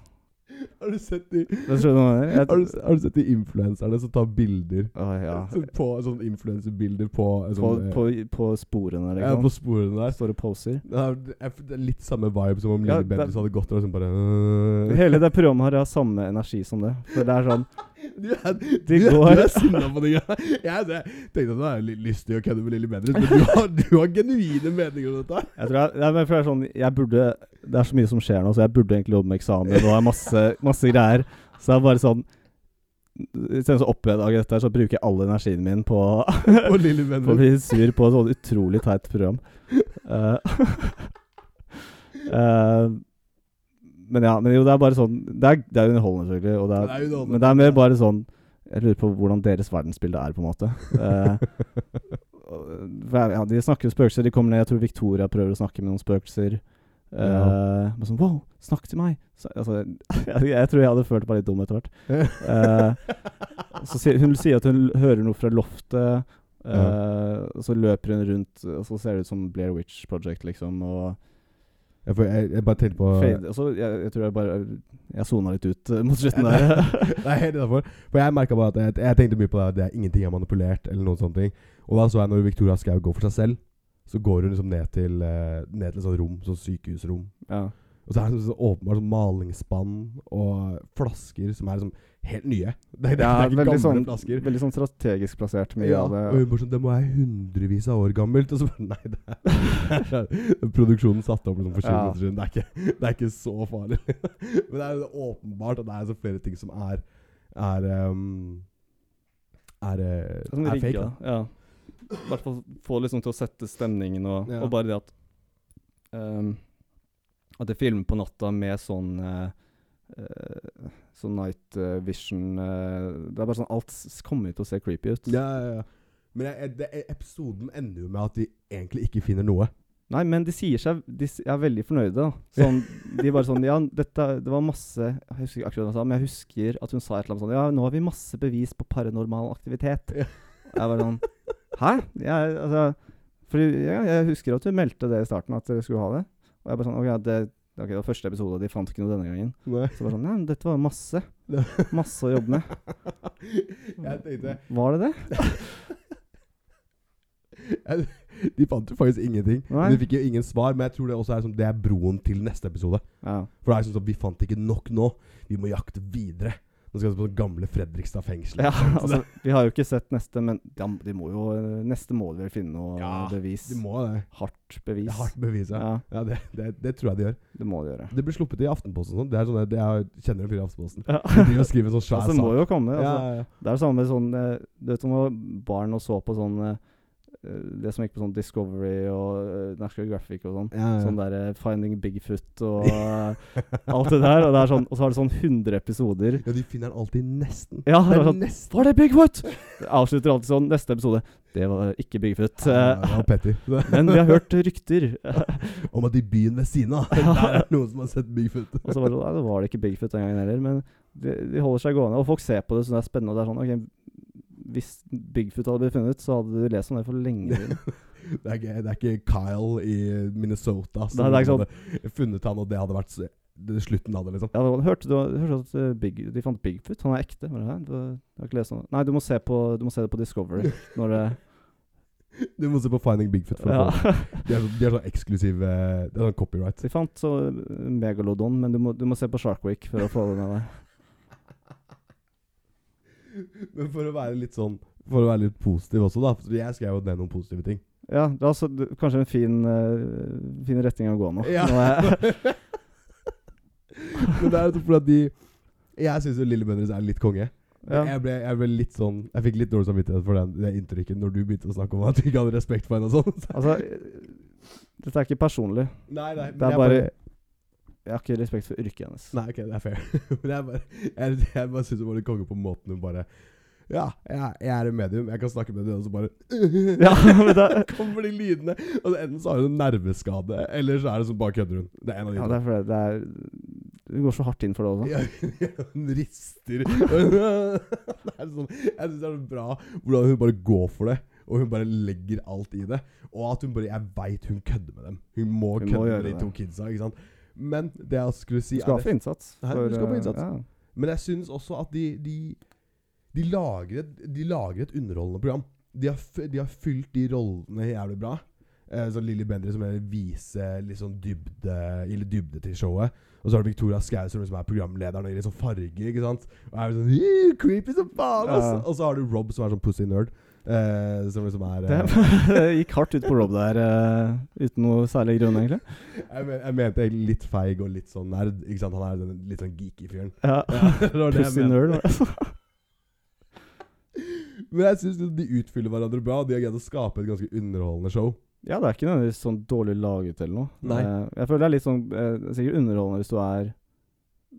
Har du sett de Det tror jeg noen mener. Jeg, har du, har du sett de influenserne som tar bilder Å, ja. Så på sånn influenserbilder på, eh, på, sånn, eh, på, på sporene, ja, liksom. på sporene der? Står og poser. Det er, det er det er litt samme vibe som om Ja, Lille det- Bendriss hadde gått der og sånn bare øh. Hele det programmet her har samme energi som det. For det er sånn Du er, du, De er- går- du er sinna på de greiene. Jeg jeg tenkte at du er litt lystig å kødde med Lille Bendriss, men du har, du har genuine meninger om dette. her. Jeg tror jeg, nei, men for det er sånn Jeg burde Det er så mye som skjer nå, så jeg burde egentlig jobbe med eksamen. Og det er masse, masse greier. Så det er bare sånn Istedenfor å oppdage dette, her, så bruker jeg all energien min på Og Lille på å Bendriss bli sur på et sånn utrolig teit program. Eh, eh, men ja, men jo, det er bare sånn Det er, det er underholdende, selvfølgelig. Og det er, Det er underholdende. men det er mer bare sånn Jeg lurer på hvordan deres verdensbilde er, på en måte. Eh, og- for jeg- ja, de snakker jo spøkelser. De kommer ned, jeg tror Victoria prøver å snakke med noen spøkelser. Eh, Ja. men sånn, Wow, snakk til meg! Så, altså, jeg, jeg tror jeg hadde følt meg litt dum etter hvert. Eh, så sier, hun sier at hun l- hører noe fra loftet, eh, og så løper hun rundt, og så ser det ut som Blair Witch Project, liksom. Og, Jeg, får- jeg, jeg bare tenkte på fade, og så jeg, jeg tror jeg bare Jeg sona litt ut eh, mot slutten Nei, der. Det er helt innafor. For jeg merket bare at jeg, jeg tenkte mye på det at det er ingenting jeg har manipulert, eller noen sånne ting. Og da så jeg når Victoria Skau går for seg selv, så går hun liksom ned til eh, Ned til et sånt rom, sånn sykehusrom. ja. Og så er det sånn, sånn åpenbart sånn malingsspann og flasker som er liksom helt nye. Det, det, det Ja, er ikke veldig, gamle sånn, flasker. veldig sånn strategisk plassert, mye Ja, av og det. hun bare sånn Det må være hundrevis av år gammelt. Og så bare Nei, det er Produksjonen satte opp liksom for 20 Ja. minutter siden. Det er, ikke, det er ikke så farlig. Men det er jo åpenbart at det er så flere ting som er Er um, Er, eh, Det er sånn er fake. rigga, Da. ja. I hvert fall få det liksom til å sette stemningen, og, Ja. og bare det at ehm, At jeg filmer på natta med sånn eh, eh, Sånn night eh, vision eh, Det er bare sånn Alt s- kommer til å se creepy ut. Ja, ja, ja. Men jeg, jeg, det, episoden ender jo med at de egentlig ikke finner noe. Nei, men de sier seg De s- er veldig fornøyde, da. Sånn, de bare sånn Ja, dette, det var masse Jeg husker ikke akkurat hva hun sa, men jeg husker at hun sa et eller annet sånn Ja, nå har vi masse bevis på paranormal aktivitet. Ja. Jeg var sånn Hæ? Jeg, altså, fordi, ja, jeg husker at du meldte det i starten, at dere skulle ha det. Og jeg bare sånn OK, det, Ok, det var første episode, og de fant ikke noe denne gangen. Nei. Så bare sånn Ja, men dette var jo masse. Masse å jobbe med. Jeg tenkte Var det det? De fant jo faktisk ingenting. Nei. Men De fikk jo ingen svar, men jeg tror det også er sånn Det er broen til neste episode. Ja. For det er sånn sånn, vi fant ikke nok nå. Vi må jakte videre. Nå skal vi på det gamle Fredrikstad fengsel. ja altså, vi har jo ikke sett neste, men de, de må jo Neste må de vel finne noe Ja, bevis. De må det. Hardt bevis. Det er hardt bevis, ja. Ja, ja det, det, det tror jeg de gjør. det må de gjøre. Det blir sluppet i Aftenposten og sånn. Det er sånn, det- jeg kjenner en fyr i Aftenposten. Ja. De driver og skriver en sånn svær Altså, det må jo komme. Altså, Ja, ja, ja. Det er det samme med sånn eh, Du vet som når barn og så på sånn eh, Det som gikk på sånn Discovery og eh, National Graphic og sånn. Ja, ja. Sånn der eh, Finding Bigfoot og eh, alt det der. Og, det er sånn, og så har det sånn 100 episoder. ja, de finner den alltid nesten. Ja, Det det er er sånn, nesten. Var det Bigfoot?! Det avslutter alltid sånn. Neste episode Det var ikke Bigfoot. Ja, eh, det var Petter. men vi har hørt rykter. Om at i byen ved siden av, der er det noen som har sett Bigfoot. Og så var det, sånn, nei, det var det ikke Bigfoot den gangen heller, men de, de holder seg gående. Og folk ser på det så det er spennende. Og det er sånn, ok, Hvis Bigfoot hadde blitt funnet, så hadde du lest om det for lenge siden. Det er, ikke, det er ikke Kyle i Minnesota som Nei, det er ikke hadde funnet han, og det hadde vært s- det, slutten av det, liksom. Ja, det var, hørte du hørte du at eh, Big, de fant Bigfoot? Han er ekte? Bare, hæ? Du, du har ikke lest om det? Nei, du må se, på, du må se det på Discovery. Når det, Du må se på Finding Bigfoot. For å ja. få det. de, er, så- de er sånn eksklusiv eh, Det er sånn copyright. De fant så eh, Megalodon, men du må, du må se på Shark Week for å få det med deg. Men for å være litt sånn For å være litt positiv også, da. For jeg skrev jo ned noen positive ting. Ja, det er altså du- kanskje en fin, eh, fin retning å gå nå. Ja. Nå er, Men det er jo fordi at de Jeg syns jo Lille Bendriss er litt konge. ja. Jeg, ble, jeg ble litt sånn Jeg fikk litt dårlig samvittighet for den, det inntrykket når du begynte å snakke om at du ikke hadde respekt for henne og sånn. Altså, eh, dette er ikke personlig. Nei, nei. Det er bare Jeg har ikke respekt for yrket hennes. Nei, ok, det er fair. Men jeg bare, jeg, jeg bare syns hun var litt konge på måten hun bare Ja, jeg, jeg er i medium, jeg kan snakke med deg, og så bare Ja, men det, Kommer de lydene? Og enten så har hun en nerveskade, eller så er det sånn bare kødder hun. Det er en av de ja, to. det er fordi det er Hun går så hardt inn for det også. Ja, hun rister. det er sånn, jeg syns det er så bra hvordan hun bare går for det. Og hun bare legger alt i det. Og at hun bare Jeg veit hun kødder med dem. Hun må Hun må kødde gjøre med de det. to kidsa. ikke sant? Men det jeg skulle si Du skal er ha for innsats. Nei, du skal på eh, innsats. Ja. Men jeg syns også at de, de, de, lager et, de lager et underholdende program. De har, f- de har fylt de rollene jævlig bra. Eh, sånn Lilly Bendriss som er- viser litt sånn dybde, eller dybde til showet. Og så har du Victoria Skau som liksom er programlederen og gir litt sånn farge. ikke sant? Og er sånn "Ih, creepy som faen, ass! Ja. Og så har du Rob som er sånn pussy nerd. Eh, som liksom er eh, Det gikk hardt ut på Rob der, eh, uten noe særlig grunn, egentlig. jeg, men, jeg mente egentlig litt feig og litt sånn nerd. ikke sant? Han er den litt sånn geeky fyren. Ja. det var det jeg Pussy mente. nerd. altså. Men jeg syns de utfyller hverandre bra. og De har greid å skape et ganske underholdende show. Ja, det er ikke nødvendigvis sånn dårlig laget eller noe. Nei. Eh, jeg føler det er litt sånn eh, Sikkert underholdende hvis du er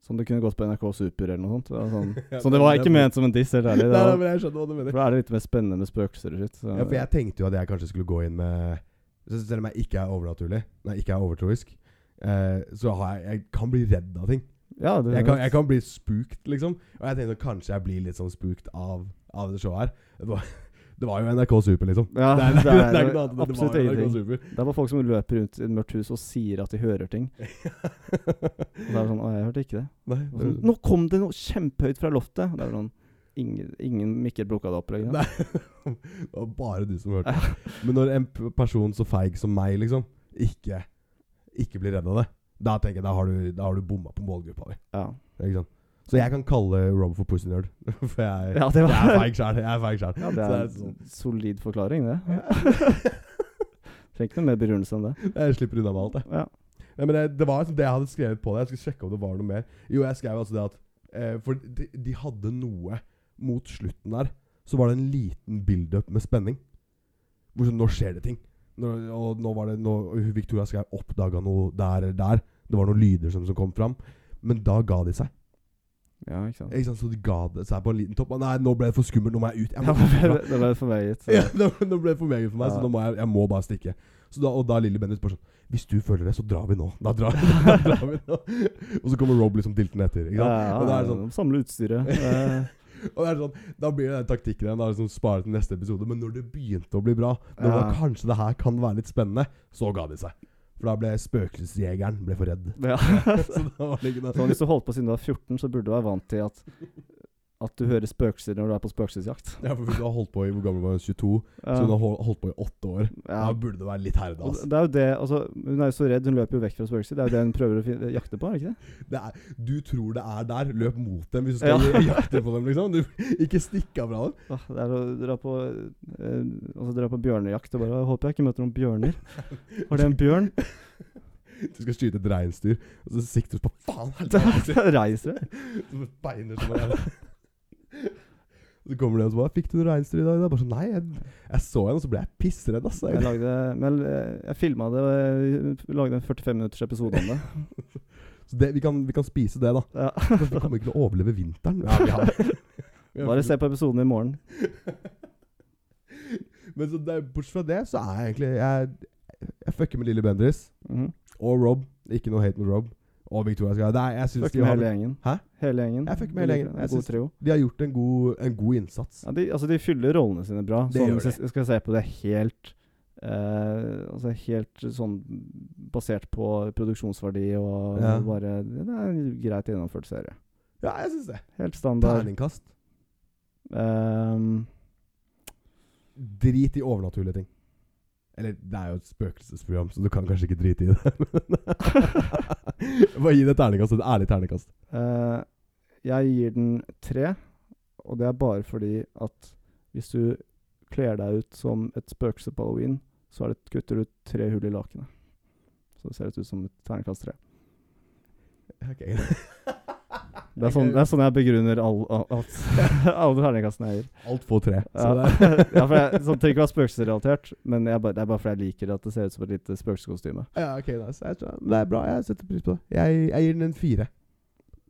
Som du kunne gått på NRK Super eller noe sånt. Det var sånn. Ja, Så det var ikke ment som en diss, helt Nei, ærlig. Det nei, var- men jeg skjønner hva du mener. For da er det litt mer spennende med spøkelser og shit. så- Ja, for jeg tenkte jo at jeg kanskje skulle gå inn med så Selv om jeg ikke er overnaturlig, nei, ikke er overtroisk, eh, så har jeg, jeg kan bli redd av ting. Ja, det, Jeg kan, jeg kan bli spooked, liksom. Og jeg tenkte at kanskje jeg blir litt sånn spooked av, av det showet her. Det var, det var jo NRK Super, liksom. Ja, det, er, det, er, det er ikke noe annet. absolutt Det var jo NRK ingenting. Super. Det er bare folk som løper rundt i et mørkt hus og sier at de hører ting. Og så er det sånn Å, jeg hørte ikke det. Nei, Og Sånn, Nå kom det noe kjempehøyt fra loftet! Og Det er sånn Ingen, ingen mikker plukka det opp. Liksom. Nei. Det var bare du som hørte det. Men når en p- person så feig som meg, liksom, ikke, ikke blir redd av det, da tenker jeg, da har du, da har du bomma på målgruppa di. Ja. Ikke sant? Så jeg kan kalle Rob for pussy nerd. For jeg, Ja, det var- jeg er feig sjæl. Jeg er feig sjæl. ja, det Så er det er en sånn. solid forklaring, det. Trenger ikke noe mer begrunnelse enn det. Jeg slipper unna med alt, jeg. Ja. Nei, men det, det var liksom det jeg hadde skrevet på det. Jeg skulle sjekke om det var noe mer. Jo, jeg skrev altså det at eh, For de, de hadde noe mot slutten der. Så var det en liten build-up med spenning. Hvor sånn, nå skjer det ting. Nå, og nå var det nå, Victoria Skau oppdaga noe der eller der. Det var noen lyder som, som kom fram. Men da ga de seg. ja, ikke sant. Ikke sant? Så de ga det seg på en liten topp. Og Nei, nå ble det for skummelt. Nå må jeg ut. Jeg Ja, men må ut det herfra. ble- det ble forveget. Ja, så- nå, nå ble det for meget for meg, så Ja. nå må jeg, jeg må bare stikke. Så da, og da er Lilly Bendriss bare sånn Hvis du føler det, så drar vi nå. Da drar, da drar vi nå. Og så kommer Rob liksom diltende etter. Ikke Ja, sant? ja, og da er det ja, sånn Samle utstyret. eh, og det er sånn, Da blir det den taktikken igjen. Da er det sånn spare til neste episode. Men når det begynte å bli bra, når Ja. da kanskje det her kan være litt spennende, så ga de seg. For da ble spøkelsesjegeren ble for redd. Ja. Så da var det ikke noe sånn- Så hvis du holdt på siden du var 14, så burde du være vant til at, at du hører spøkelser når du er på spøkelsesjakt. Ja, for Hun har holdt på i hvor gammel var hun? 22? Ja. Så hun har hol- holdt på i åtte år. ja. Da burde det være litt herda. Og Altså. det er jo det, altså, Hun er jo så redd, hun løper jo vekk fra spøkelser. Det er jo det hun prøver å fin- jakte på, er det ikke det? Det er, du tror det er der, løp mot dem hvis du skal Ja. jakte på dem. liksom du, Ikke stikk av fra dem. Åh, Det er å dra på, eh, altså, dra på bjørnejakt og bare Håper jeg ikke møter noen bjørner. Var det en bjørn? Du skal skyte et reinsdyr, og så sikter du på faen Da helvete! da reiser du. Så beiner som bare Så kommer de og så bare 'Fikk du noe reinsdyr i dag?' Det er bare sånn Nei, jeg, jeg så en, og så ble jeg pissredd, ass. Jeg lagde Men eh, jeg filma det, og jeg lagde en 45 minutters episode om det. Så det, vi, kan, vi kan spise det, da. Ja. Vi kommer ikke til å overleve vinteren. Ja, vi har Vi har- Bare se på episoden i morgen. Men så det, bortsett fra det, så er jeg egentlig Jeg, jeg fucker med Lille Bendriss Mhm. og Rob. Ikke noe hate mot Rob. Og Victoria Sky. Nei, jeg synes Fuck de, med har, hele gjengen. Hæ? Hele gjengen. Jeg fucker med hele gjengen. Jeg En god synes- trio. de har gjort en god, en god innsats. Ja, de, altså, de fyller rollene sine bra. Det sånn, gjør de. hvis jeg skal se på det helt eh, altså Helt sånn basert på produksjonsverdi og Ja. bare Det er en greit gjennomført serie. Ja, jeg syns det. Helt standard. Terningkast. Ehm, Drit i overnaturlige ting. Eller, det er jo et spøkelsesprogram, så du kan kanskje ikke drite i det. men- Bare gi det et terningkast. Et ærlig terningkast. eh, jeg gir den tre, og det er bare fordi at hvis du kler deg ut som et spøkelse på halloween, så er det, kutter du tre hull i lakenet. Så det ser ut som et terningkast tre. Okay. Det er, sånn, det er sånn jeg begrunner all, all, alt, alle terningkastene jeg gir. Alt får tre. Så Ja. det er- ja, for jeg, sånn, trenger ikke å være spøkelsesrelatert, men jeg, bare- det er bare fordi jeg liker at det ser ut som et lite spøkelseskostyme. Ja, ok, nice. Jeg tror- Men det er bra. Jeg setter pris på det. Jeg, jeg gir den en fire.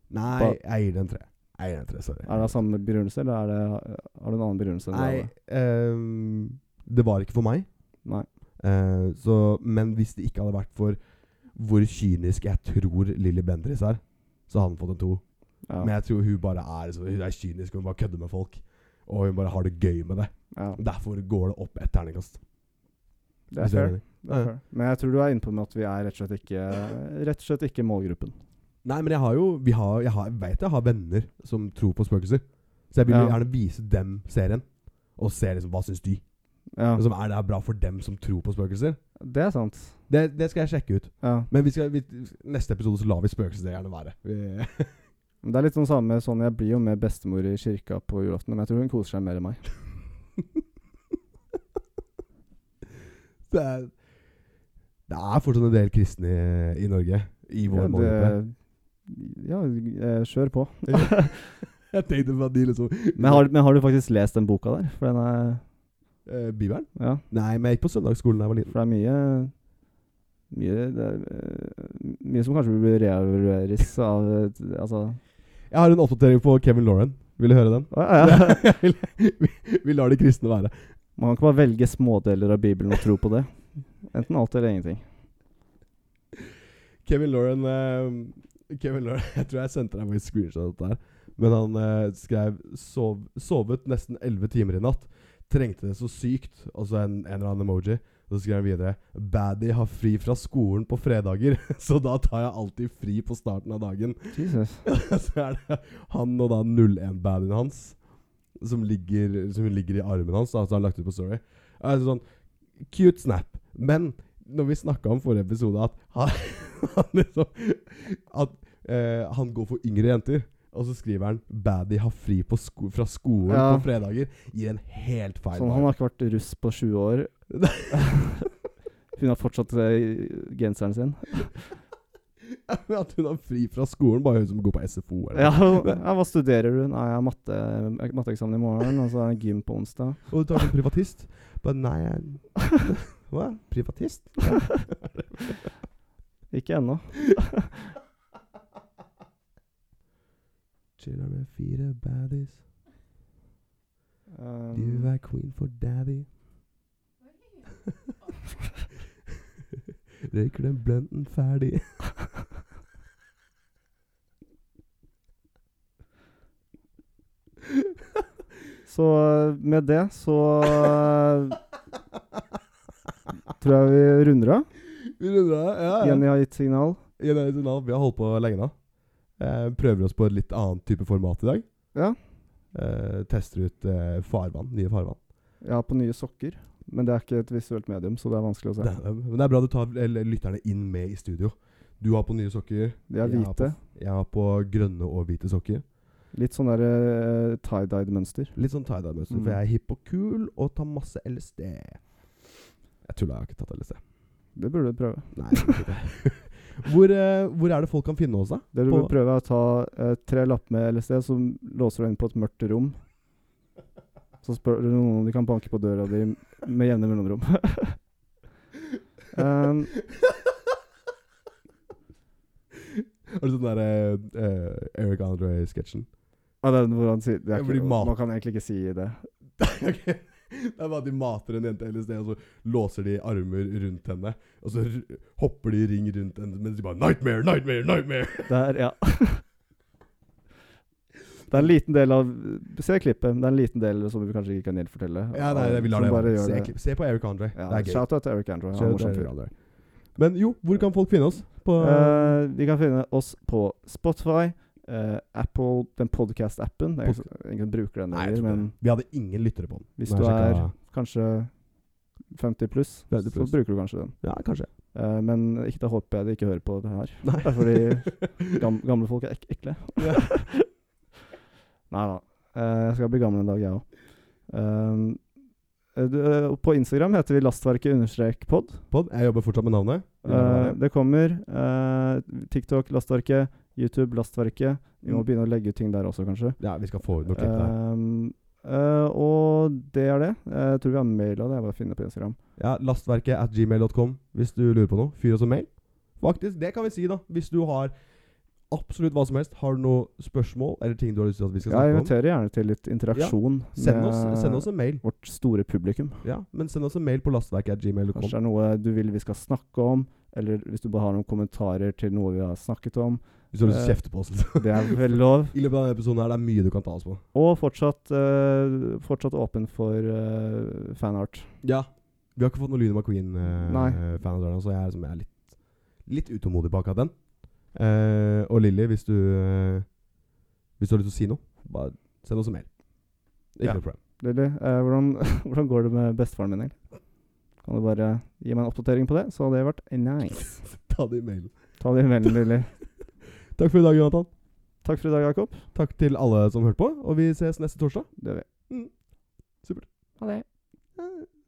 Nei, Ba- jeg gir den en tre. Jeg gir den en tre, sorry. Er det samme begrunnelse, eller er det, har du en annen begrunnelse? enn Nei, det? ehm, det var ikke for meg. Nei. Eh, så, men hvis det ikke hadde vært for hvor kynisk jeg tror Lilly Bendriss er, så hadde hun fått en to. Ja. Men jeg tror hun bare er, så, hun er kynisk, hun bare kødder med folk. Og hun bare har det gøy med det. ja. Derfor går det opp et terningkast. Det er Hvis du er fair. enig. Det er fair. Men jeg tror du er inne på med at vi er rett og slett ikke, rett og slett ikke målgruppen. Nei, men jeg har jo vi har, Jeg, har, jeg vet jeg har venner som tror på spøkelser. Så jeg vil Ja. gjerne vise dem serien. Og se liksom, hva syns de. Ja, Liksom, er det her bra for dem som tror på spøkelser? det er sant. Det, det skal jeg sjekke ut. Ja. Men vi skal, vi, neste episode så lar vi spøkelsesjegerne være. Vi- Men Det er litt sånn samme sånn Jeg blir jo med bestemor i kirka på julaften, men jeg tror hun koser seg mer enn meg. Det er, det er fortsatt en del kristne i, i Norge. I vår Ja, målgruppe. det, ja eh, kjør på. Jeg tenkte på at de liksom Men har, men har du faktisk lest den boka der? For den er eh, Bibelen? Ja. Nei, men jeg gikk på søndagsskolen da jeg var liten. For det er mye mye, det er, eh, mye som kanskje blir reevalueres av eh, t- Altså Jeg har en oppdatering på Kevin Lauren. Vil du høre den? Å, ja, ja. vi, vi lar de kristne være. Man kan ikke bare velge smådeler av Bibelen og tro på det. Enten alt eller ingenting. Kevin Lauren eh, Kevin Lauren, Jeg tror jeg sendte deg faktisk screenshot av dette her. Men han eh, skrev Sov, 'Sovet nesten 11 timer i natt. Trengte det så sykt.' Og så en, en eller annen emoji. Og så skrev han videre 'Baddy har fri fra skolen på fredager, så da tar jeg alltid fri på starten av dagen'. Jesus. så er det han og da 01-badien hans som ligger, som ligger i armen hans. Altså han har lagt ut på Story. Altså sånn Cute snap. Men når vi snakka om forrige episode, at han, han liksom At eh, han går for yngre jenter. Og så skriver han 'Baddy har fri på sko fra skolen Ja. på fredager'. Gir en helt feil Sånn, han har ikke vært russ på 20 år. Hun har fortsatt eh, genseren sin. vibe. At hun har fri fra skolen, bare hun som går på SFO. Eller. Ja, ja, Hva studerer du? Nei, jeg har matte, jeg har matteeksamen i morgen, og så er det gym på onsdag. Og du tar en privatist. Bare nei, jeg Hva? Privatist? Ikke ennå. Chiller med fire baddies. Du Um, er queen for daddy. Røyker den blunten ferdig. så eh, med det så eh, tror jeg vi runder av. Vi runder av. Ja, ja. Jenny har gitt signal. Igjen er det signal. Vi har holdt på lenge nå. Eh, prøver oss på et litt annet type format i dag. Ja. Eh, tester ut eh, farvann, nye farvann. Ja, på nye sokker. Men det er ikke et visuelt medium, så det er vanskelig å Det se. er, men det er bra du tar eh, lytterne inn med i studio. Du har på nye sokker. De er jeg har hvite. Jeg har på grønne og hvite sokker. Litt sånn der eh, tie-dyed-mønster. Litt sånn tie-dye-mønster, Mm. for jeg er hipp og kul og tar masse LSD. Jeg tulla, jeg har ikke tatt LSD. Det burde du prøve. Nei, jeg har ikke det. hvor, eh, hvor er det folk kan finne oss, da? Det du På- bør prøve, er å ta eh, tre lapper med LSD, så låser du deg inn på et mørkt rom. Så spør du noen om de kan banke på døra di med jevne mellomrom. um, Er det sånn der eh, eh, Eric Andre-sketsjen? ja, det er hvor han sier det er Ja, hvor de ikke, mat- Man kan egentlig ikke si det. Ok. Det er bare at de mater en jente LSD, og så låser de armer rundt henne. Og så r hopper de i ring rundt henne mens de bare 'Nightmare, nightmare, nightmare'. Det er, ja. Det er en liten del av Se klippet. men Det er en liten del som vi kanskje ikke kan gjenfortelle. Ja, nei, vi lar som det bare være. gjør Se, det. klipp- se på Eric Andre. Ja, det er gøy. Shout-out til Eric Andrew. Han Shout er out morsom til fyr. Eric Andre. Men jo, hvor kan folk finne oss? På Eh, vi kan finne oss på Spotify, eh, Apple, den podcast-appen. Det er Pod- ikke- Ingen bruker den Nei, jeg lenger, tror ikke men det. Vi hadde ingen lyttere på den. Hvis Når du jeg sjekket- kanskje 50 pluss, 50 så pluss. bruker du kanskje den. Ja, kanskje. Eh, men ikke da håper jeg de ikke hører på det her. Nei. Det er fordi gam gamle folk er ek ekle. Ja. Nei da. Eh, jeg skal bli gammel en dag, jeg Ehm, eh, òg. på Instagram heter vi lastverket-pod. Pod, jeg jobber fortsatt med navnet. Vi lar Eh, det være. det kommer. eh, TikTok, Lastverket. YouTube, Lastverket. Vi må Mm. begynne å legge ut ting der også, kanskje. Ja, vi skal få ut noe klipp der. Ehm, eh, og det er det. Eh, jeg tror vi har maila det. Jeg bare finner på Instagram. Ja, lastverket at gmail.com hvis du lurer på noe. Fyr oss en mail. Faktisk, det kan vi si, da. Hvis du har absolutt hva som helst, har du noen spørsmål eller ting du har lyst til at vi skal Jeg snakke om, inviterer gjerne til litt interaksjon send oss, send oss en mail. vårt store publikum. Ja, men send oss en mail på lastverket at Kanskje gmail.com. det er noe du vil vi skal snakke om, eller hvis du bare har noen kommentarer til noe vi har snakket om. Hvis du har lyst til å Eh, kjefte på oss. Liksom. Det er vel lov. I løpet av denne episoden her, det er mye du kan ta oss på. Og fortsatt, eh, fortsatt åpen for eh, fanart. Ja. Vi har ikke fått noe Lyne Nei. McQueen-fan av denne, så jeg er, liksom, jeg er litt, litt utålmodig på akkurat den. Eh, og Lilly, hvis du eh, Hvis du har lyst til å si noe, bare send oss en mail. Ikke Ja. noe problem. Lilly, eh, hvordan, hvordan går det med bestefaren min? egentlig? Kan du bare gi meg en oppdatering på det? Så hadde det vært nice. Ta det i mailen. Ta det i mailen, Lilly. Takk for i dag, Jonathan. Takk for i dag, Jakob. Takk til alle som hørte på, og vi ses neste torsdag. Det gjør vi. Mm. Supert. Ha det. Ha det.